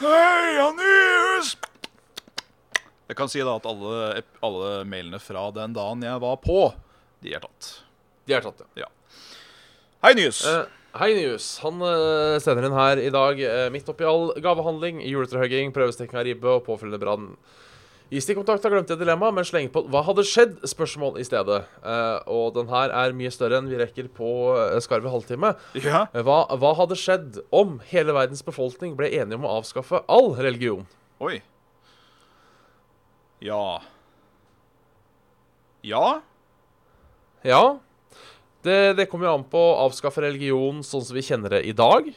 Speaker 2: Hei, Anius! Jeg kan si da at alle, alle mailene fra den dagen jeg var på, de er tatt.
Speaker 3: De er tatt, ja.
Speaker 2: Hei, Nyhus!
Speaker 3: Eh, hei, Nius. Han eh, sender inn her i dag eh, midt oppi all gavehandling, juletrehugging, prøvestekking av ribbe og påfølgende brann. I stikkontakta glemte jeg dilemmaet, men slengte på 'Hva hadde skjedd?' spørsmål i stedet. Eh, og den her er mye større enn vi rekker på uh, skarve halvtime.
Speaker 2: ja.
Speaker 3: Eh, Hva, hva hadde skjedd om hele verdens befolkning ble enige om å avskaffe all religion?
Speaker 2: Oi. Ja. Ja?
Speaker 3: Ja, det, det kommer jo an på å avskaffe religion sånn som vi kjenner det i dag.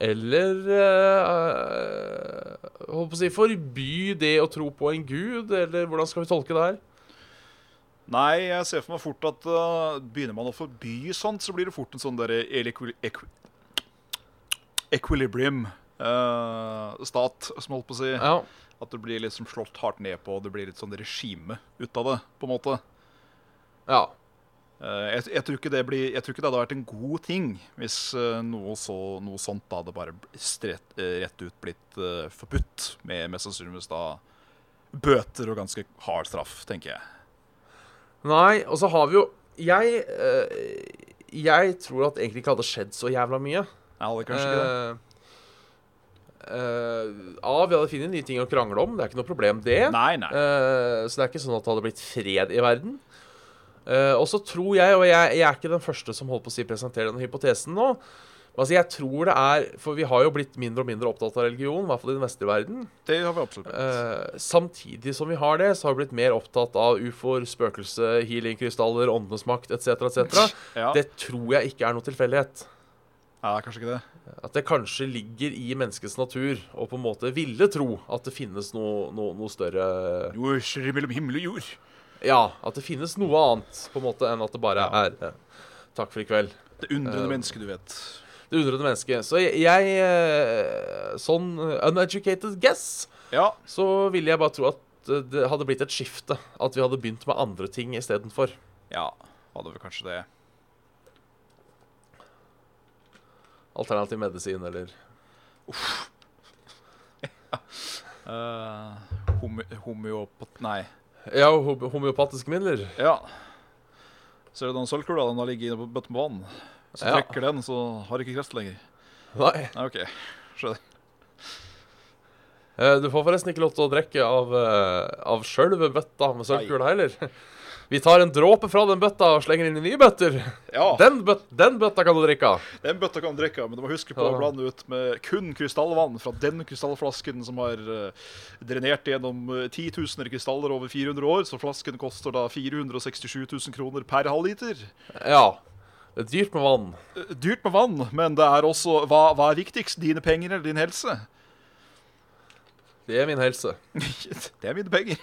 Speaker 3: Eller eh, eh, holdt på å si forby det å tro på en gud, eller hvordan skal vi tolke det her?
Speaker 2: Nei, jeg ser for meg fort at uh, begynner man å forby sånt, så blir det fort en sånn derre equi equi equilibrium-stat, eh, som holdt på å si.
Speaker 3: Ja,
Speaker 2: At det blir liksom slått hardt ned på, og det blir litt sånn regime ut av det, på en måte.
Speaker 3: ja,
Speaker 2: Eh, Jeg, jeg, tror ikke det blir, jeg tror ikke det hadde vært en god ting hvis eh, noe, så, noe sånt da hadde bare bl- strett, eh, rett ut blitt eh, forbudt, med mest sannsynligvis da bøter og ganske hard straff, tenker jeg.
Speaker 3: Nei, og så har vi jo Jeg eh, Jeg tror at egentlig ikke hadde skjedd så jævla mye.
Speaker 2: Jeg hadde kanskje ikke det.
Speaker 3: Eh, eh, ja, vi hadde funnet nye ting å krangle om. Det er ikke noe problem, det.
Speaker 2: Nei, nei.
Speaker 3: Eh, så det er ikke sånn at det hadde blitt fred i verden. Eh, og så tror jeg, og jeg, jeg er ikke den første som holdt på å si presenterer den hypotesen nå men altså jeg tror det er, For vi har jo blitt mindre og mindre opptatt av religion, i hvert fall i den vestlige verden.
Speaker 2: Det har vi absolutt blitt.
Speaker 3: Eh, samtidig som vi har det, så har vi blitt mer opptatt av ufoer, spøkelse, healingkrystaller, åndenes makt etc. etc.
Speaker 2: ja.
Speaker 3: Det tror jeg ikke er noe tilfeldighet.
Speaker 2: ja, kanskje ikke det.
Speaker 3: At det kanskje ligger i menneskets natur å på en måte ville tro at det finnes noe, noe, noe større
Speaker 2: Jo, skjer mellom himmel og jord.
Speaker 3: Ja, at det finnes noe annet på en måte enn at det bare er eh, takk for i kveld.
Speaker 2: Det undrende
Speaker 3: Eh,
Speaker 2: mennesket, du vet.
Speaker 3: Det undrende mennesket. Så jeg, jeg eh, Sånn eh, uneducated guess,
Speaker 2: Ja,
Speaker 3: så ville jeg bare tro at eh, det hadde blitt et skifte. At vi hadde begynt med andre ting istedenfor.
Speaker 2: ja, hadde vi kanskje det.
Speaker 3: Alternativ medisin eller
Speaker 2: Uh, homeopat... Nei.
Speaker 3: Ja, ho- homeopatiske midler.
Speaker 2: Ja. Ser du den sølvkula? Den har ligget inne på bøtten med vann. Så
Speaker 3: Ja.
Speaker 2: trekker den, så har du ikke kreft lenger.
Speaker 3: Nei.
Speaker 2: Nei, OK. Skjønner.
Speaker 3: Eh, Du får forresten ikke lov til å drikke av, eh, av sjølve bøtta med sølvkula heller. Vi tar en dråpe fra den bøtta og slenger inn i nye bøtter.
Speaker 2: Ja, den,
Speaker 3: Den, bøt, den bøtta kan du drikke av.
Speaker 2: bøtta kan du drikke, av, men du må huske på
Speaker 3: Ja.
Speaker 2: å blande ut med kun krystallvann fra den krystallflasken som har eh, drenert gjennom eh, titusener krystaller over 400 år, så flasken koster da 467 000 kroner per halvliter.
Speaker 3: Ja. Det er dyrt med vann.
Speaker 2: Eh, Dyrt med vann, men det er også Hva, hva er viktigst? Dine penger eller din helse?
Speaker 3: Det er min helse.
Speaker 2: det er mine penger.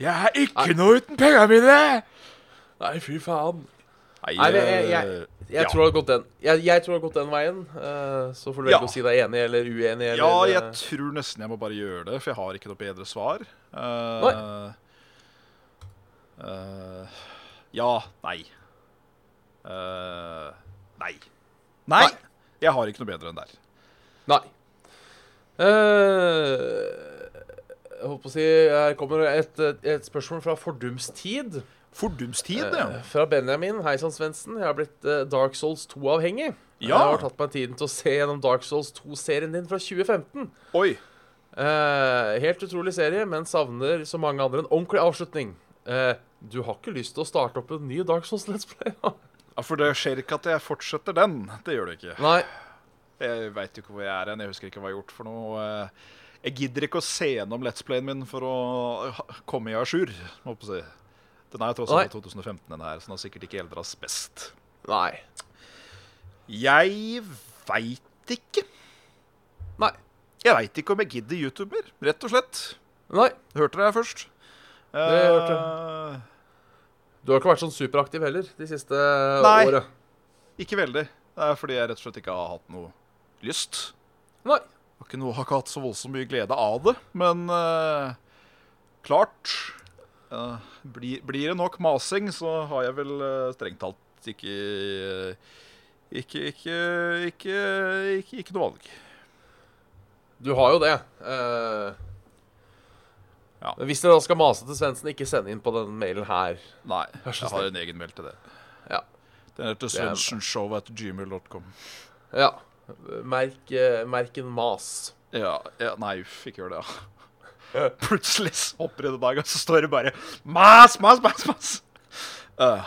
Speaker 2: Jeg er ikke noe uten pengene mine!
Speaker 3: Nei, fy faen. Nei, jeg, jeg, jeg, jeg
Speaker 2: Ja.
Speaker 3: tror det har gått den Jeg, jeg tror det har gått den veien. eh, så får du velge
Speaker 2: Ja.
Speaker 3: å si deg enig eller uenig. Eller,
Speaker 2: Ja,
Speaker 3: eh,
Speaker 2: jeg tror nesten jeg må bare gjøre det, for jeg har ikke noe bedre svar. Eh, eh, ja, nei. Eh, nei. Nei!
Speaker 3: Nei.
Speaker 2: Jeg har ikke noe bedre enn der.
Speaker 3: Nei. Eh, jeg holdt på å si Her kommer et, et spørsmål fra fordumstid.
Speaker 2: Fordumstid,
Speaker 3: Eh,
Speaker 2: ja.
Speaker 3: fra Benjamin. Hei sann, Svendsen. Jeg har blitt eh, Dark Souls 2-avhengig. Jeg
Speaker 2: Ja.
Speaker 3: har tatt meg tiden til å se gjennom Dark Souls 2-serien din fra 2015.
Speaker 2: Oi.
Speaker 3: Eh, helt utrolig serie, men savner som mange andre en ordentlig avslutning. Eh, du har ikke lyst til å starte opp en ny Dark Souls Let's Play? da?
Speaker 2: Ja, For det skjer ikke at jeg fortsetter den. Det gjør det ikke.
Speaker 3: Nei.
Speaker 2: Jeg veit ikke hvor jeg er hen. Jeg husker ikke hva jeg har gjort for noe. eh, Jeg gidder ikke å se gjennom Let's Playen min for å ha- komme i à jour. må jeg på si. Den er tross alt fra 2015, den her, så den har sikkert ikke eldres best.
Speaker 3: Nei.
Speaker 2: Jeg veit ikke.
Speaker 3: Nei.
Speaker 2: Jeg veit ikke om jeg gidder YouTuber, rett og slett.
Speaker 3: Nei.
Speaker 2: Hørte dere her først? Eh, Det
Speaker 3: hørte Du har ikke vært sånn superaktiv heller de siste
Speaker 2: Nei.
Speaker 3: året.
Speaker 2: Ikke veldig. Det er fordi jeg rett og slett ikke har hatt noe lyst.
Speaker 3: Nei.
Speaker 2: Har ikke, noe, har ikke hatt så voldsomt mye glede av det, men eh, klart eh, blir, blir det nok masing, så har jeg vel eh, strengt talt ikke ikke, ikke, ikke, ikke, ikke noe valg.
Speaker 3: Du har jo det. Eh,
Speaker 2: Ja.
Speaker 3: men Hvis dere da skal mase til Svendsen, ikke send inn på den mailen her.
Speaker 2: Nei,
Speaker 3: Vær så
Speaker 2: jeg har en egen mail til det.
Speaker 3: Ja.
Speaker 2: Den heter
Speaker 3: er bra.
Speaker 2: svenskenshow.gmail.com.
Speaker 3: Ja. Merk, eh, merk en mas.
Speaker 2: Ja, ja, nei, uff, ikke gjør det, ja. Plutselig så hopper det en dag, og så står det bare Mas, mas, mas, mas! Eh,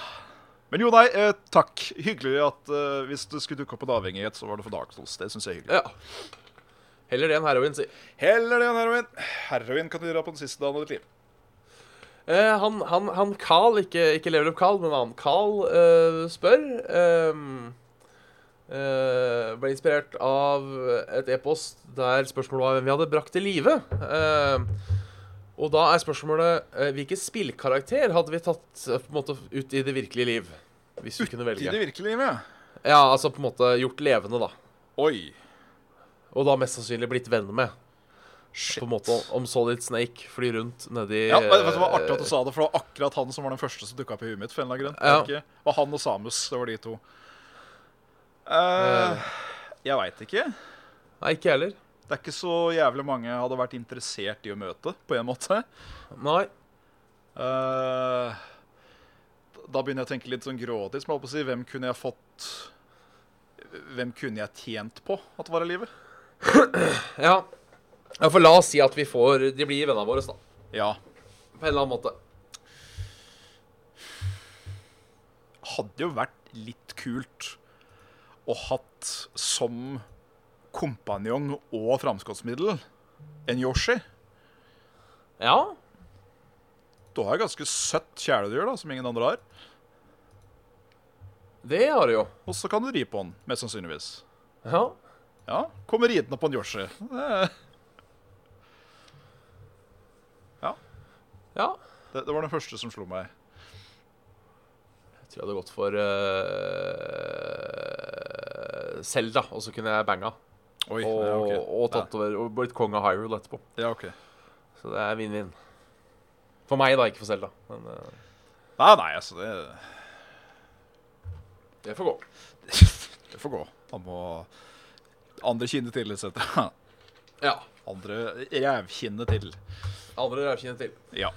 Speaker 2: men jo, nei, eh, takk. Hyggelig at eh, hvis det skulle dukke opp en avhengighet, så var det for Dark Souls. Det syns jeg er hyggelig.
Speaker 3: Ja. Heller det enn heroin, si.
Speaker 2: Heller det enn heroin. Heroin kan du gjøre på den siste dagen av ditt liv.
Speaker 3: Eh, han, han, han Carl, ikke, ikke Level Up Carl, men en annen Carl, eh, spør ehm, eh, Ble inspirert av et e-post der spørsmålet var hvem vi hadde brakt til live. Ehm, og da er spørsmålet eh, hvilken spillkarakter hadde vi tatt eh, på en måte ut i det virkelige liv? Hvis vi kunne
Speaker 2: Til
Speaker 3: velge.
Speaker 2: det virkelige livet.
Speaker 3: Ja, altså på en måte gjort levende, da.
Speaker 2: Oi.
Speaker 3: Og da mest sannsynlig blitt venner med.
Speaker 2: Shit.
Speaker 3: På en måte Om Solid Snake flyr rundt nedi
Speaker 2: Ja, vet du, hva, Det var artig at
Speaker 3: eh,
Speaker 2: du sa det, for det var akkurat han som var den første som dukka opp i huet mitt. for en eller annen grunn.
Speaker 3: Ja.
Speaker 2: Var det Ikke? Det var han og Samus. Det var de to. Eh, jeg veit ikke.
Speaker 3: Nei, ikke jeg heller.
Speaker 2: Det er ikke så jævlig mange jeg hadde vært interessert i å møte, på en måte.
Speaker 3: Nei.
Speaker 2: Eh, da begynner jeg å tenke litt sånn grådig. Som jeg holdt på å si, hvem kunne jeg fått Hvem kunne jeg tjent på at var i live?
Speaker 3: Ja. ja, for la oss si at vi får De blir vennene våre, da.
Speaker 2: Ja.
Speaker 3: På en eller annen måte.
Speaker 2: Hadde jo vært litt kult å hatt som kompanjong og framskottsmiddel en Yoshi.
Speaker 3: Ja.
Speaker 2: Du har jo ganske søtt kjæledyr da, som ingen andre har.
Speaker 3: Det har de jo.
Speaker 2: Og så kan du ri på den, mest sannsynligvis.
Speaker 3: Ja.
Speaker 2: Ja, kommer ridende på en Yoshi. Det
Speaker 3: ja.
Speaker 2: Det, det var den første som slo meg.
Speaker 3: Jeg tror jeg hadde gått for eh, Zelda, og så kunne jeg banga.
Speaker 2: Oi,
Speaker 3: Og,
Speaker 2: ja, ok.
Speaker 3: og tatt over og blitt konge av Hyrule etterpå.
Speaker 2: Ja, ok.
Speaker 3: Så det er vinn-vinn. For meg, da, ikke for Zelda. Men eh,
Speaker 2: Nei, nei, altså det,
Speaker 3: det får gå.
Speaker 2: det får gå. Han må andre kinnet til, etc.
Speaker 3: Ja.
Speaker 2: Andre rævkinnet til.
Speaker 3: Andre rævkinnet til.
Speaker 2: Ja.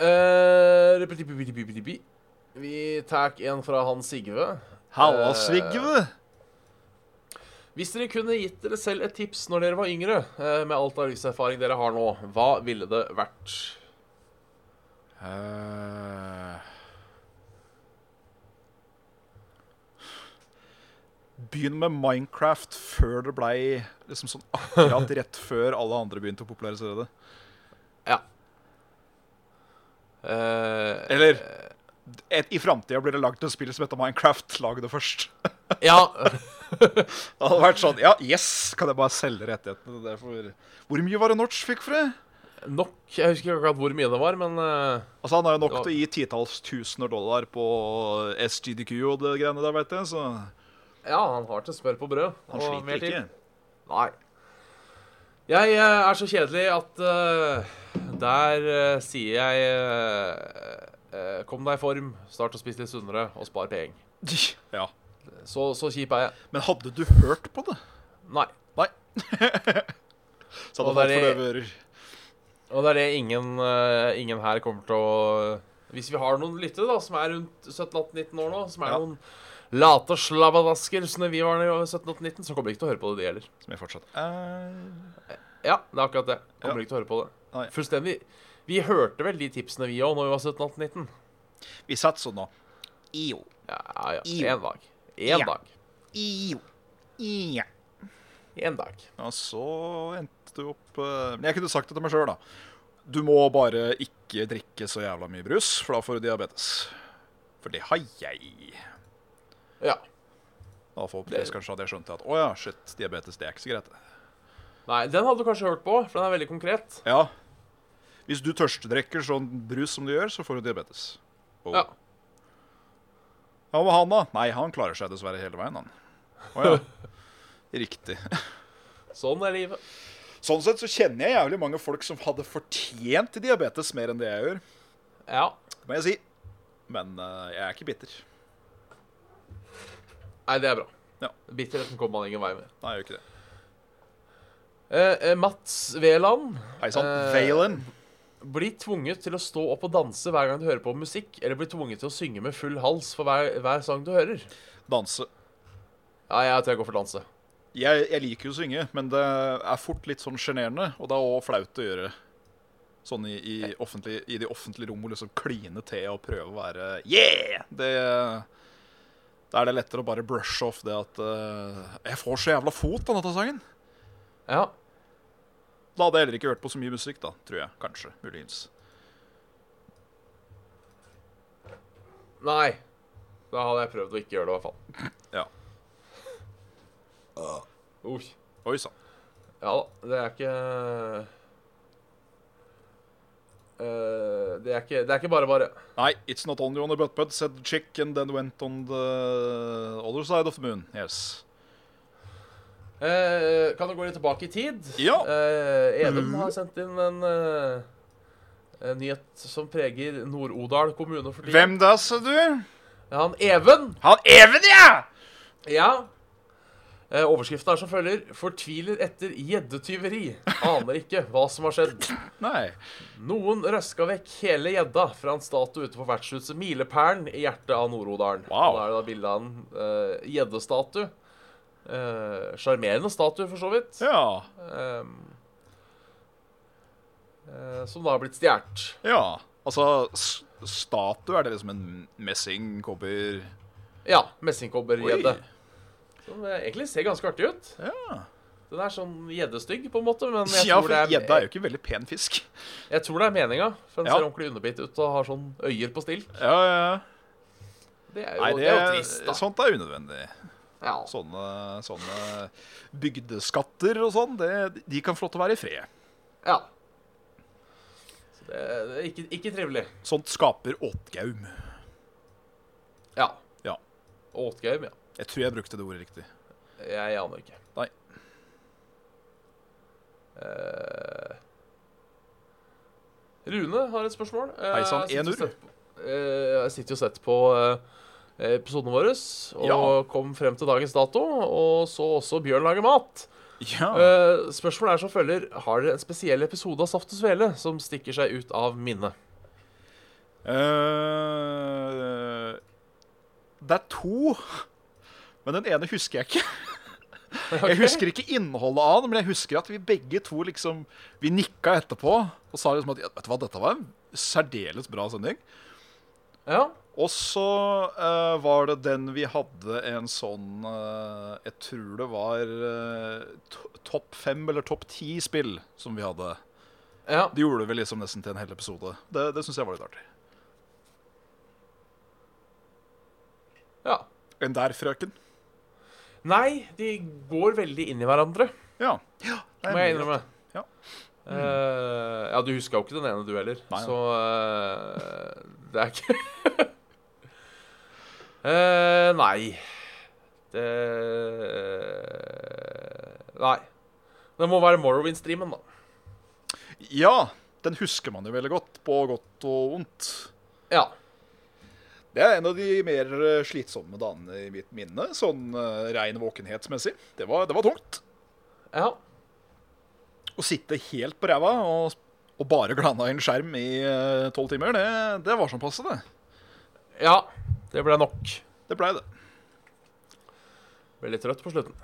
Speaker 3: Eh, repetipi-bi-bi-bi-bi. vi tar en fra han Sigve.
Speaker 2: Halla, Sigve!
Speaker 3: Hvis dere kunne gitt dere selv et tips når dere var yngre, eh, med alt av livserfaring dere har nå, hva ville det vært?
Speaker 2: Eh, Begynn med Minecraft før det blei liksom sånn akkurat rett før alle andre begynte å popularisere det.
Speaker 3: Eh,
Speaker 2: Eller et, I framtida blir det lagd et spill som heter Minecraft. Lag det først.
Speaker 3: Ja.
Speaker 2: Det hadde vært sånn Ja, yes! Kan jeg bare selge rettighetene? Det er for- Hvor mye var det Notch fikk for det?
Speaker 3: Nok. Jeg husker ikke akkurat hvor mye det var, men eh,
Speaker 2: Altså, han har jo nok
Speaker 3: Ja.
Speaker 2: til å gi titalls tusener dollar på SGDQ og det greiene der, veit jeg, så han
Speaker 3: ja, han har til smør på brød. og mer
Speaker 2: sliter
Speaker 3: til.
Speaker 2: ikke.
Speaker 3: Nei. Jeg eh, er så kjedelig at eh, der eh, sier jeg eh, eh, Kom deg i form, start å spise litt sunnere og spar penger.
Speaker 2: Ja.
Speaker 3: Så, så kjip er jeg.
Speaker 2: Men hadde du hørt på det?
Speaker 3: Nei.
Speaker 2: Nei. så hadde
Speaker 3: Og
Speaker 2: han fått
Speaker 3: det er-
Speaker 2: for døve ører.
Speaker 3: Og det er det ingen, eh, ingen her kommer til å Hvis vi har noen lyttere da, som er rundt 17-18-19 år nå, som er
Speaker 2: Ja.
Speaker 3: noen late slabbadasker som vi var da vi var 17-18-19, så kommer de ikke til å høre på det, de heller.
Speaker 2: Som jeg fortsatt eh,
Speaker 3: Ja, det er akkurat det. Kommer
Speaker 2: Ja.
Speaker 3: ikke til å høre på det.
Speaker 2: Nei.
Speaker 3: Fullstendig. Vi hørte vel de tipsene vi òg, når vi var 17-18-19.
Speaker 2: Vi satt sånn nå. Io.
Speaker 3: Ja, ja, ja.
Speaker 2: Jo.
Speaker 3: En dag. En
Speaker 2: Ja.
Speaker 3: dag.
Speaker 2: Io. Ia.
Speaker 3: En dag.
Speaker 2: Ja, så endte du opp eh, Men jeg kunne sagt det til meg sjøl, da. Du må bare ikke drikke så jævla mye brus, for da får du diabetes. For det har jeg.
Speaker 3: Ja.
Speaker 2: Da forhåpentligvis kanskje hadde jeg skjønt at å ja, shit, diabetes det er ikke så greit.
Speaker 3: Nei, den hadde du kanskje hørt på, for den er veldig konkret.
Speaker 2: Ja. Hvis du tørstedrikker sånn brus som du gjør, så får du diabetes. Oh.
Speaker 3: Ja.
Speaker 2: Hva med han, da? Nei, han klarer seg dessverre hele veien, han. Å ja. Riktig.
Speaker 3: Sånn er livet.
Speaker 2: Sånn sett så kjenner jeg jævlig mange folk som hadde fortjent diabetes mer enn det jeg gjør,
Speaker 3: Ja.
Speaker 2: må jeg si. Men eh, jeg er ikke bitter.
Speaker 3: Nei, det er bra.
Speaker 2: Ja.
Speaker 3: Bitterheten kommer man ingen vei med.
Speaker 2: Nei, jeg gjør ikke det.
Speaker 3: Eh, eh, Mats Veland
Speaker 2: Hei sann.
Speaker 3: Eh,
Speaker 2: Valen.
Speaker 3: blir tvunget til å stå opp og danse hver gang du hører på musikk, eller blir tvunget til å synge med full hals for hver, hver sang du hører.
Speaker 2: Danse.
Speaker 3: Ja, jeg tror jeg går for danse.
Speaker 2: Jeg, jeg liker jo å synge, men det er fort litt sånn sjenerende, og det er òg flaut å gjøre sånn i, i, offentlig, i de offentlige rom og liksom kline til og prøve å være Yeah! Det, da er det lettere å bare brushe off det at eh, Jeg får så jævla fot av denne sangen.
Speaker 3: Ja.
Speaker 2: Da hadde jeg heller ikke hørt på så mye musikk, da, tror jeg. Kanskje. Muligens.
Speaker 3: Nei. Da hadde jeg prøvd å ikke gjøre det, i hvert fall. Uh.
Speaker 2: Ja.
Speaker 3: Oi.
Speaker 2: Oi sann.
Speaker 3: Ja da, det er ikke Eh, det, er ikke, det er ikke bare bare.
Speaker 2: Nei, it's not only on the butt butt, said the chick, and then went on the other side of the moon. Yes.
Speaker 3: Eh, kan du gå litt tilbake i tid?
Speaker 2: Ja.
Speaker 3: Eh, Even har sendt inn en, eh, en nyhet som preger Nord-Odal kommune for tiden.
Speaker 2: Hvem da, sa du?
Speaker 3: Han Even
Speaker 2: Han Even, ja!
Speaker 3: Ja. Eh, Overskriften er som følger 'Fortviler etter gjeddetyveri'. Aner ikke hva som har skjedd.
Speaker 2: Nei.
Speaker 3: Noen røska vekk hele gjedda fra en statue ute på vertshuset Milepælen i hjertet av Nord-Odalen.
Speaker 2: Wow.
Speaker 3: Da er det da bilde av en eh, gjeddestatue. Eh, Sjarmerende statue, for så vidt.
Speaker 2: Ja.
Speaker 3: Ehm, eh, som da har blitt stjålet.
Speaker 2: Ja, altså s- Statue, er det liksom en messing, kobber
Speaker 3: Ja. Messingkobbergjedde.
Speaker 2: Oi.
Speaker 3: Som eh, egentlig ser ganske artig ut.
Speaker 2: Ja,
Speaker 3: Den er sånn gjeddestygg, på en måte. Men jeg
Speaker 2: ja
Speaker 3: tror
Speaker 2: for
Speaker 3: det er,
Speaker 2: gjedda er jo ikke veldig pen fisk.
Speaker 3: Jeg tror det er meninga, for den
Speaker 2: Ja.
Speaker 3: ser ordentlig underbitt ut og har sånn øyer på stilk.
Speaker 2: Ja, ja, ja.
Speaker 3: Det er jo,
Speaker 2: Nei,
Speaker 3: det, er jo trist, da.
Speaker 2: sånt er sånn. unødvendig.
Speaker 3: ja.
Speaker 2: Sånne, sånne bygdeskatter og sånn, det, de kan få lov til å være i fred.
Speaker 3: ja. Så det er det er ikke, ikke trivelig.
Speaker 2: Sånt skaper åtgaum.
Speaker 3: Ja.
Speaker 2: Ja.
Speaker 3: Åtgaum, ja.
Speaker 2: Jeg tror jeg brukte det ordet riktig.
Speaker 3: Jeg aner ikke.
Speaker 2: Nei.
Speaker 3: Eh, Rune har et spørsmål. Eh,
Speaker 2: Hei sann,
Speaker 3: jeg sitter
Speaker 2: Enur.
Speaker 3: og sett på- eh, Jeg sitter jo og sett på eh, episodene våre, og
Speaker 2: Ja.
Speaker 3: kom frem til dagens dato, og så også Bjørn lager mat.
Speaker 2: Ja.
Speaker 3: Eh, spørsmålet er som følger Har dere en spesiell episode av Saft og Svele som stikker seg ut av minnet?
Speaker 2: Eh, det er to, men den ene husker jeg ikke. Jeg husker ikke innholdet av den, men jeg husker at vi begge to liksom Vi nikka etterpå og sa liksom at «Ja, Vet du hva, dette var en særdeles bra sending.
Speaker 3: Ja,
Speaker 2: Og så eh, var det den vi hadde en sånn eh, Jeg tror det var eh, to topp fem eller topp ti spill som vi hadde.
Speaker 3: ja,
Speaker 2: Det gjorde vi liksom nesten til en hel episode. Det, det syns jeg var litt artig.
Speaker 3: Ja.
Speaker 2: Enn der, frøken?
Speaker 3: Nei, de går veldig inn i hverandre,
Speaker 2: Ja. ja det er
Speaker 3: må
Speaker 2: mulig.
Speaker 3: jeg innrømme.
Speaker 2: Ja.
Speaker 3: Eh, ja, du huska jo ikke den ene du heller,
Speaker 2: Nei,
Speaker 3: så eh, det er ikke Eh, Nei. Det Nei. Det må være Morrowind-streamen, da.
Speaker 2: ja, den husker man jo veldig godt, på godt og vondt.
Speaker 3: Ja.
Speaker 2: Det er en av de mer eh, slitsomme dagene i mitt minne, sånn eh, rein våkenhetsmessig. Det var, det var tungt.
Speaker 3: ja.
Speaker 2: Å sitte helt på ræva og, og bare glana i en skjerm i eh, tolv timer, det, det var sånn passe, det.
Speaker 3: Ja. Det ble nok.
Speaker 2: Det blei det.
Speaker 3: Ble litt trøtt på slutten.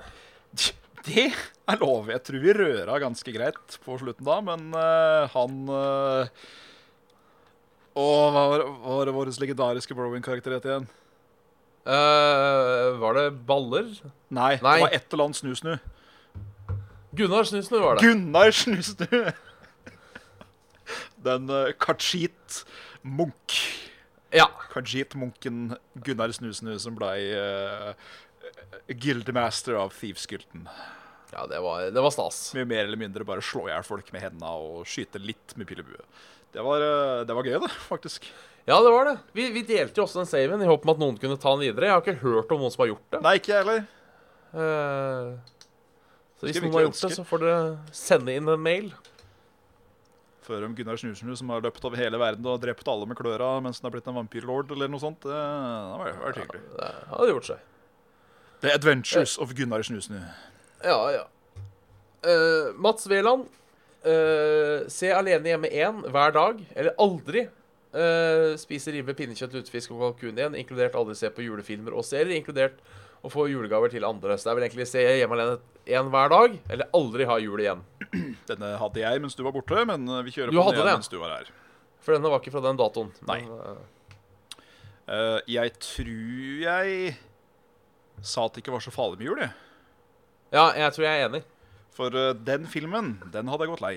Speaker 2: Det er lov. Jeg tror vi røra ganske greit på slutten da, men eh, han eh, Å, hva var, hva var det vår legendariske Browin-karakter het igjen?
Speaker 3: Eh, var det baller?
Speaker 2: Nei,
Speaker 3: Nei.
Speaker 2: det var et eller annet snusnu.
Speaker 3: Gunnar Snusner var det.
Speaker 2: Gunnar Snusnu! Den eh, Kajit Munch.
Speaker 3: Ja.
Speaker 2: Kajit-munken Gunnar Snusnu som blei eh, guildmaster av Thieves-gylten.
Speaker 3: ja det, var, det var stas.
Speaker 2: Mye mer eller mindre bare slå i hjel folk med hendene og skyte litt med pil og bue. Det var, eh, det var gøy, det, faktisk.
Speaker 3: Ja, det var det. Vi, vi delte jo også den saven i håp om at noen kunne ta den videre. Jeg har ikke hørt om noen som har gjort det.
Speaker 2: Nei, ikke jeg heller.
Speaker 3: Eh, så hvis
Speaker 2: Skal vi
Speaker 3: noen
Speaker 2: ikke
Speaker 3: har gjort det,
Speaker 2: ønske?
Speaker 3: så får dere sende inn en mail.
Speaker 2: Før om Gunnar Snusnu som har løpt over hele verden og drept alle med kløra mens han har blitt en vampyrlord eller noe sånt. Det, det var, var hyggelig.
Speaker 3: Det hadde gjort seg.
Speaker 2: The Adventures of Gunnar Snusnu.
Speaker 3: Ja, ja. Eh, Mats Veland. eh, se Alene hjemme 1 hver dag, eller aldri. eh, spise ribbe, pinnekjøtt, lutefisk og kalkun igjen, inkludert aldri se på julefilmer og serier, inkludert å få julegaver til andre. Så det er vel egentlig se hjemme alene 1 hver dag, eller aldri ha jul igjen.
Speaker 2: Denne hadde jeg mens du var borte, men eh, vi kjører
Speaker 3: Du
Speaker 2: på
Speaker 3: hadde
Speaker 2: den igjen
Speaker 3: det?
Speaker 2: mens du var her.
Speaker 3: For denne var ikke fra den datoen.
Speaker 2: Nei.
Speaker 3: Men, eh,
Speaker 2: Eh, jeg tror jeg sa at det ikke var så farlig med jul, jeg.
Speaker 3: Ja, jeg tror jeg er enig.
Speaker 2: For eh, den filmen, den hadde jeg gått lei.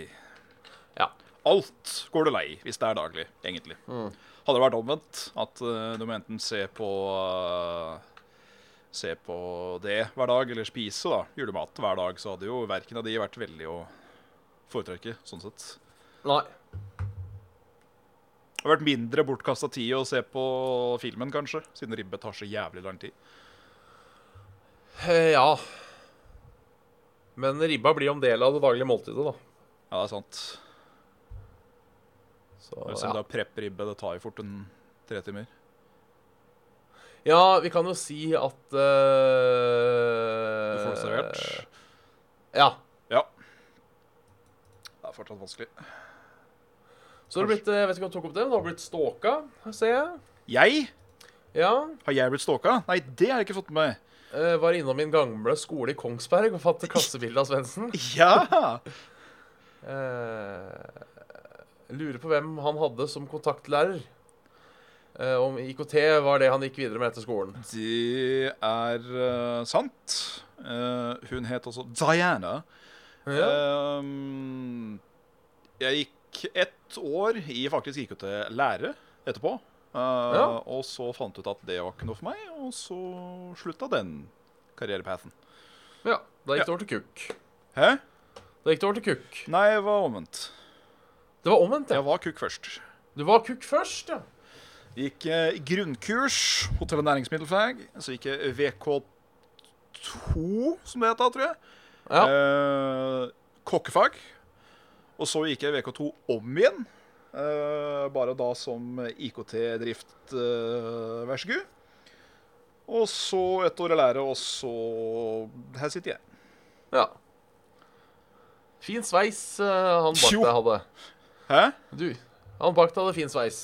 Speaker 3: Ja. Mm.
Speaker 2: Alt går du lei hvis det er daglig, egentlig. Hadde det vært omvendt, at eh, du må enten se på eh, Se på det hver dag, eller spise da, julemat hver dag, så hadde jo verken av de vært veldig å foretrekke, sånn sett.
Speaker 3: Nei.
Speaker 2: Det hadde vært mindre bortkasta tid å se på filmen, kanskje, siden ribbe tar så jævlig lang tid.
Speaker 3: Eh, Ja. Men ribba blir jo en del av det daglige måltidet, da.
Speaker 2: Ja, det er sant.
Speaker 3: Så,
Speaker 2: Og Hvis du
Speaker 3: ja.
Speaker 2: da prepper ribbe, det tar jo fort en tre timer.
Speaker 3: ja, vi kan jo si at
Speaker 2: Du
Speaker 3: eh,
Speaker 2: får det servert.
Speaker 3: Ja.
Speaker 2: Ja. Det er fortsatt vanskelig.
Speaker 3: Så har det blitt eh, Jeg vet ikke om du tok opp det, men det har blitt stalka, ser jeg.
Speaker 2: Jeg?
Speaker 3: Ja.
Speaker 2: Har jeg blitt stalka? Nei, det har jeg ikke fått med meg.
Speaker 3: Eh, var innom min gamle skole i Kongsberg og fant et klassebilde av Svendsen.
Speaker 2: Ja!
Speaker 3: Eh, lurer på hvem han hadde som kontaktlærer. Eh, om IKT var det han gikk videre med etter skolen.
Speaker 2: Det er eh, sant. Eh, hun het også Diana.
Speaker 3: Ja.
Speaker 2: Ehm, jeg gikk ett år i faktisk IKT lære etterpå. Eh,
Speaker 3: Ja.
Speaker 2: Og så fant ut at det var ikke noe for meg, og så slutta den karrierepathen.
Speaker 3: Ja, da gikk
Speaker 2: Ja.
Speaker 3: det over til kukk.
Speaker 2: Hæ?
Speaker 3: Da gikk det over til kukk.
Speaker 2: Nei, jeg var omvendt.
Speaker 3: Det var omvendt, ja.
Speaker 2: Jeg var kukk først.
Speaker 3: Du var kukk først, ja.
Speaker 2: Gikk eh, grunnkurs, hotell- og næringsmiddelfag. Så gikk jeg VK2, som det het da, tror jeg.
Speaker 3: Ja,
Speaker 2: Eh, kokkefag. Og så gikk jeg VK2 om igjen. Eh, bare da som IKT-drift, eh, vær så god. Og så et år i lære, og så Her sitter jeg.
Speaker 3: ja. Fin sveis eh, han bak
Speaker 2: Jo.
Speaker 3: deg hadde.
Speaker 2: Hæ?
Speaker 3: Du, han bak deg hadde fin sveis.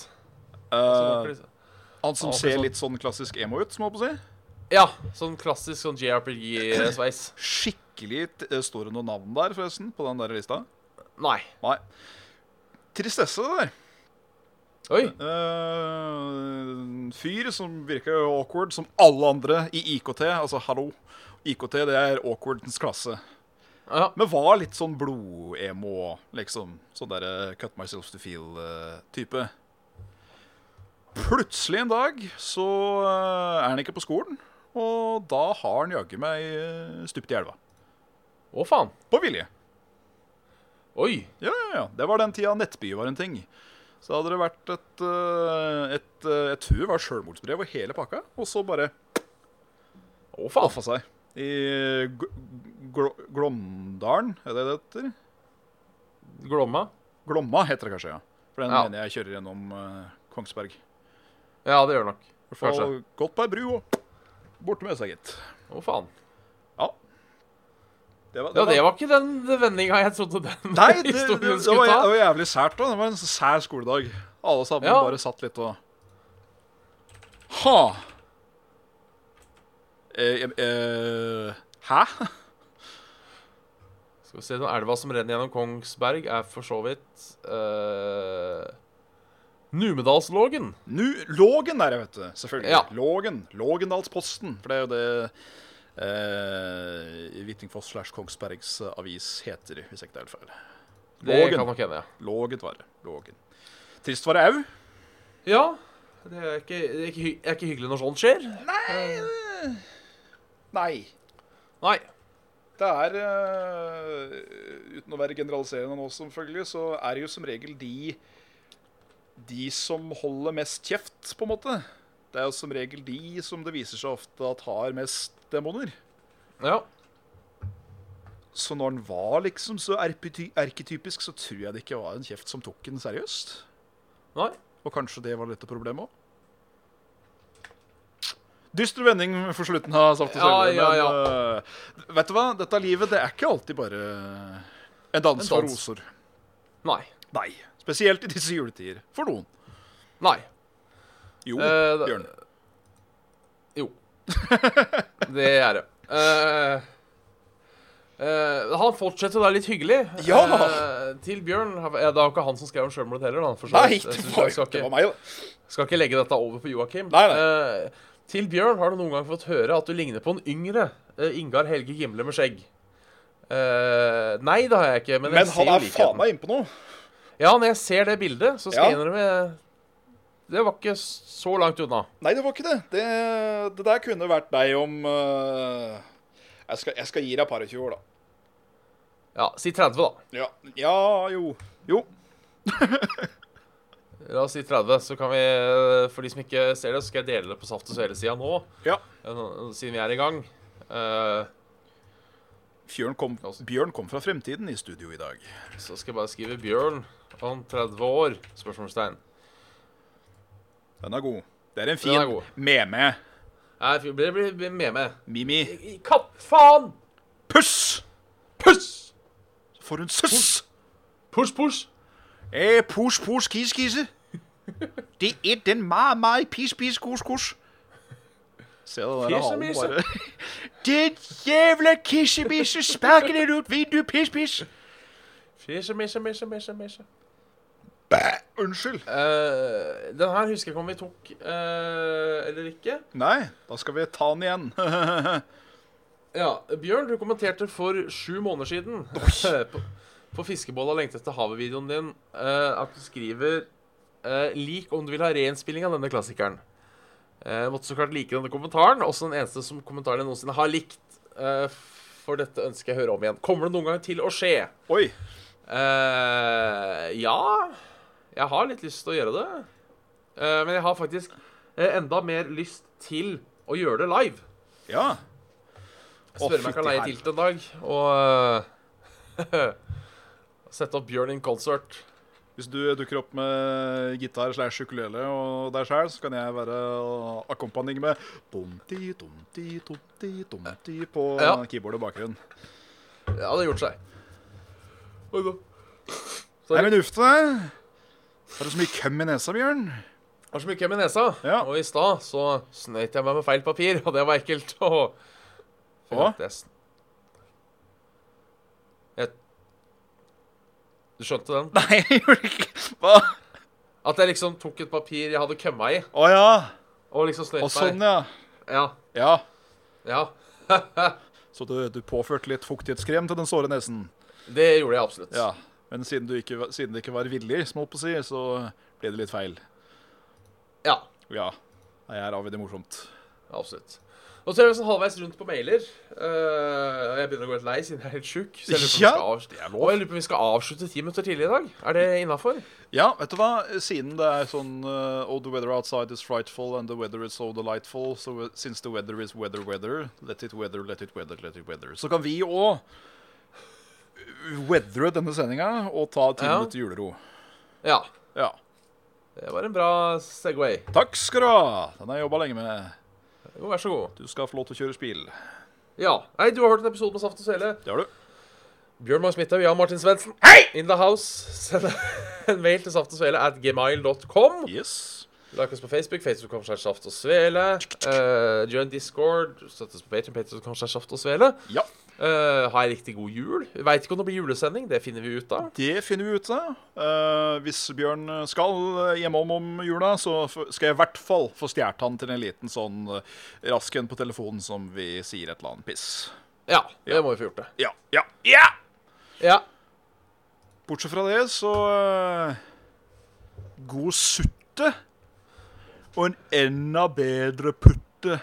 Speaker 3: Så
Speaker 2: Eh,
Speaker 3: bak deg-
Speaker 2: han som
Speaker 3: han
Speaker 2: ser
Speaker 3: sånn-
Speaker 2: litt sånn klassisk emo ut, som jeg holdt på å si.
Speaker 3: Ja, sånn klassisk sånn JRPG-sveis.
Speaker 2: Skikkelig t- eh, Står det noe navn der, forresten, på den der lista?
Speaker 3: Nei.
Speaker 2: Nei. Tristesse, det der.
Speaker 3: Oi.
Speaker 2: Eh, fyr som virker awkward som alle andre i IKT. Altså, hallo. IKT det er awkwardens klasse.
Speaker 3: Ja.
Speaker 2: Men var litt sånn eh, blodemo, liksom. Sånn derre cut myself to feel-type. eh, Plutselig en dag så eh, er han ikke på skolen, og da har han jaggu meg eh, stupt i elva.
Speaker 3: Å, faen.
Speaker 2: På vilje.
Speaker 3: Oi.
Speaker 2: Ja, ja, ja. Det var den tida Nettby var en ting. Så hadde det vært et, eh, et eh, Jeg tror det var sjølmordsbrev og hele pakka, og så bare
Speaker 3: Å, faen.
Speaker 2: offa seg. I G- Gl- Glåmdalen, er det det heter?
Speaker 3: Glomma.
Speaker 2: Glomma heter det kanskje, ja. For den
Speaker 3: Ja.
Speaker 2: mener jeg kjører gjennom eh, Kongsberg.
Speaker 3: Ja, det gjør det nok.
Speaker 2: I hvert fall
Speaker 3: Kanskje.
Speaker 2: gått på ei bru og borte med seg, gitt.
Speaker 3: Å, faen.
Speaker 2: Ja. Det var,
Speaker 3: Ja, det var ikke den vendinga jeg trodde den
Speaker 2: Nei, det, det, det,
Speaker 3: historien
Speaker 2: var,
Speaker 3: skulle
Speaker 2: det
Speaker 3: ta.
Speaker 2: var jævlig sært. da. Det var en så sær skoledag. Alle sammen
Speaker 3: Ja.
Speaker 2: bare satt litt og Ha! Eh, eh, eh, hæ?
Speaker 3: Skal vi se, den elva som renner gjennom Kongsberg, er for så vidt eh, Numedalslågen.
Speaker 2: Nu, Lågen er det, vet du. Selvfølgelig.
Speaker 3: Ja.
Speaker 2: Lågen. Lågendalsposten. For det er jo det eh, Hvittingfoss slash Kongsbergs avis heter, hvis jeg ikke tar helt feil.
Speaker 3: Det
Speaker 2: Lågen.
Speaker 3: kan nok hende, ja.
Speaker 2: Lågen var det. Lågen. Trist var det au.
Speaker 3: Ja. Det er ikke, det er ikke, hy- det er ikke hyggelig når sånt skjer.
Speaker 2: Nei. Nei.
Speaker 3: Nei.
Speaker 2: Det er, eh, uten å være generaliserende nå selvfølgelig, så er det jo som regel de, de som holder mest kjeft, på en måte. Det er jo som regel de som det viser seg ofte at har mest demoner.
Speaker 3: Ja.
Speaker 2: Så når han var liksom så erpety- erketypisk, så tror jeg det ikke var en kjeft som tok den seriøst.
Speaker 3: Nei.
Speaker 2: Og kanskje det var litt av problemet òg. Dyster vending for slutten av Saft og
Speaker 3: Ja,
Speaker 2: Svele.
Speaker 3: ja,
Speaker 2: Men øh, vet du hva? Dette livet det er ikke alltid bare en dans,
Speaker 3: En
Speaker 2: for
Speaker 3: dans.
Speaker 2: roser.
Speaker 3: Nei.
Speaker 2: Nei. Spesielt i disse juletider. For noen.
Speaker 3: Nei.
Speaker 2: Jo,
Speaker 3: Eh, da-
Speaker 2: Bjørn.
Speaker 3: Jo. Det er det. Eh, eh, han fortsetter da litt hyggelig.
Speaker 2: Ja!
Speaker 3: Eh, til Bjørn. Ja, Det er jo ikke han som skrev om sjølmordet heller. Da, for så
Speaker 2: Nei,
Speaker 3: vidt.
Speaker 2: det
Speaker 3: Jeg synes
Speaker 2: var,
Speaker 3: jeg skal
Speaker 2: det
Speaker 3: ikke-
Speaker 2: var meg, da.
Speaker 3: Skal ikke legge dette over på Joakim.
Speaker 2: Nei, nei.
Speaker 3: Eh, til Bjørn har du noen gang fått høre at du ligner på en yngre eh, Ingar Helge Gimle med skjegg. Eh, nei, det har jeg ikke. Men, jeg
Speaker 2: Men
Speaker 3: ser
Speaker 2: han er
Speaker 3: jo
Speaker 2: faen
Speaker 3: likheten.
Speaker 2: meg innpå noe.
Speaker 3: Ja, når jeg ser det bildet, så skal
Speaker 2: Ja.
Speaker 3: jeg innrømme eh, Det var ikke så langt unna.
Speaker 2: Nei, det var ikke det. Det, det der kunne vært deg om øh, jeg, skal, jeg skal gi deg par og tjue år, da.
Speaker 3: Ja, si 30, da.
Speaker 2: Ja, ja jo. Jo.
Speaker 3: La oss si 30, så kan vi eh, For de som ikke ser det, så skal jeg dele det på Saft og Svele-sida nå,
Speaker 2: Ja.
Speaker 3: eh, nå- siden vi er i gang. Eh,
Speaker 2: Bjørn kom, Bjørn kom fra fremtiden i studio i dag.
Speaker 3: så skal jeg bare skrive Bjørn om 30 år? Spørsmålstegn.
Speaker 2: Den er god. Det er en
Speaker 3: Den er
Speaker 2: fin
Speaker 3: god.
Speaker 2: meme.
Speaker 3: Nei, Det blir blir- blir med med.
Speaker 2: Mimi.
Speaker 3: Kattfaen!
Speaker 2: Puss!
Speaker 3: Puss!
Speaker 2: For en suss!
Speaker 3: Push, push.
Speaker 2: Eh, push, push, kis, kise. Det er den meget, meget pis, pis, kos, kos. Se det der halen
Speaker 3: Fisemisse.
Speaker 2: bare. Den jævla kissebisse sparker den ut vinduet, piss, piss.
Speaker 3: Fisje, misje, misje, misje, misje.
Speaker 2: Bæ! Unnskyld.
Speaker 3: Eh, den her husker jeg ikke om vi tok eh, eller ikke.
Speaker 2: Nei, da skal vi ta den igjen.
Speaker 3: Ja, Bjørn, du kommenterte for sju måneder siden på, på Fiskebolla lengte etter havet-videoen din eh, at du skriver eh, 'lik om du vil ha reinnspilling av denne klassikeren'. Eh, måtte så klart like denne kommentaren, også den eneste som kommentaren din noensinne har likt. eh, for dette ønsker jeg å høre om igjen. Kommer det noen gang til å skje?
Speaker 2: Oi.
Speaker 3: eh ja, jeg har litt lyst til å gjøre det. Eh, men jeg har faktisk eh, enda mer lyst til å gjøre det live.
Speaker 2: Ja. Å,
Speaker 3: Spørre om jeg kan
Speaker 2: fytti
Speaker 3: leie
Speaker 2: helvete.
Speaker 3: tilt en dag og eh, sette opp Bjørn in concert.
Speaker 2: Hvis du dukker opp med gitar slash ukulele og deg sjæl, så kan jeg være akkompagning med bomti, tomti, tomti, tomti på
Speaker 3: Ja.
Speaker 2: keyboard og bakgrunn.
Speaker 3: Ja, det hadde gjort seg. Oi da.
Speaker 2: Nei,
Speaker 3: Sorry.
Speaker 2: men uff deg. Har du så mye køm i nesa, Bjørn?
Speaker 3: Har så mye køm i nesa.
Speaker 2: Ja.
Speaker 3: Og i stad så snøyt jeg meg med feil papir, og det var ekkelt. Og... Fy
Speaker 2: Hva?
Speaker 3: at jeg sn- Jeg... Du skjønte den?
Speaker 2: Nei, jeg gjorde ikke Hva?
Speaker 3: At jeg liksom tok et papir jeg hadde kømma i,
Speaker 2: Å ja.
Speaker 3: og liksom snøyt
Speaker 2: Og sånn,
Speaker 3: meg.
Speaker 2: ja.
Speaker 3: Ja.
Speaker 2: Ja.
Speaker 3: ja.
Speaker 2: Så du, du påførte litt fuktighetskrem til den såre nesen?
Speaker 3: Det gjorde jeg absolutt.
Speaker 2: Ja. Men siden, du ikke, var- siden det ikke var villig, som jeg holdt på å si, så ble det litt feil.
Speaker 3: Ja,
Speaker 2: Ja. Nei, Her har vi det morsomt.
Speaker 3: absolutt. Nå ser vi sånn halvveis rundt på mailer. Eh, og jeg begynner å gå litt lei siden jeg er helt sjuk. Så jeg lurer på om
Speaker 2: Ja,
Speaker 3: vi skal avs- Og jeg lurer på om vi skal avslutte ti minutter tidlig i dag. Er det innafor?
Speaker 2: Ja, vet du hva? Siden det er sånn eh, Oh, the weather outside is frightful, and the weather is so delightful. So we- since the weather is weather, weather, let it weather, let it weather, let it weather. Så kan vi òg weathre denne sendinga og ta ti
Speaker 3: Ja.
Speaker 2: minutter julero.
Speaker 3: Ja.
Speaker 2: Ja.
Speaker 3: Det var en bra Segway.
Speaker 2: Takk skal du ha! Den har jeg jobba lenge med.
Speaker 3: Jo, vær så god.
Speaker 2: Du skal få lov til å kjøre spill.
Speaker 3: Ja. Nei, du har hørt en episode med Saft og Svele.
Speaker 2: Det har du.
Speaker 3: Bjørn Magnus Midthaug, Jan Martin Svendsen. Hei! In the house. Send en mail til saftogsvele at gmail.com.
Speaker 2: Yes.
Speaker 3: Like oss på Facebook. Facebook kommer seg Saft og Svele. Eh, join Discord. Støttes på Patreon. Patreon kommer seg Saft og Svele.
Speaker 2: Ja.
Speaker 3: Eh, ha ei riktig god jul. Veit ikke om det blir julesending. Det finner vi ut av.
Speaker 2: Det finner vi ut av. Eh, hvis Bjørn skal eh, hjemom om jula, så f skal jeg i hvert fall få stjålet han til en liten sånn uh, rask en på telefonen som vi sier et eller annet piss.
Speaker 3: Ja, det må vi få gjort, det.
Speaker 2: Ja. Ja. ja!
Speaker 3: Ja.
Speaker 2: Bortsett fra det, så eh, God sutte og en enda bedre putte.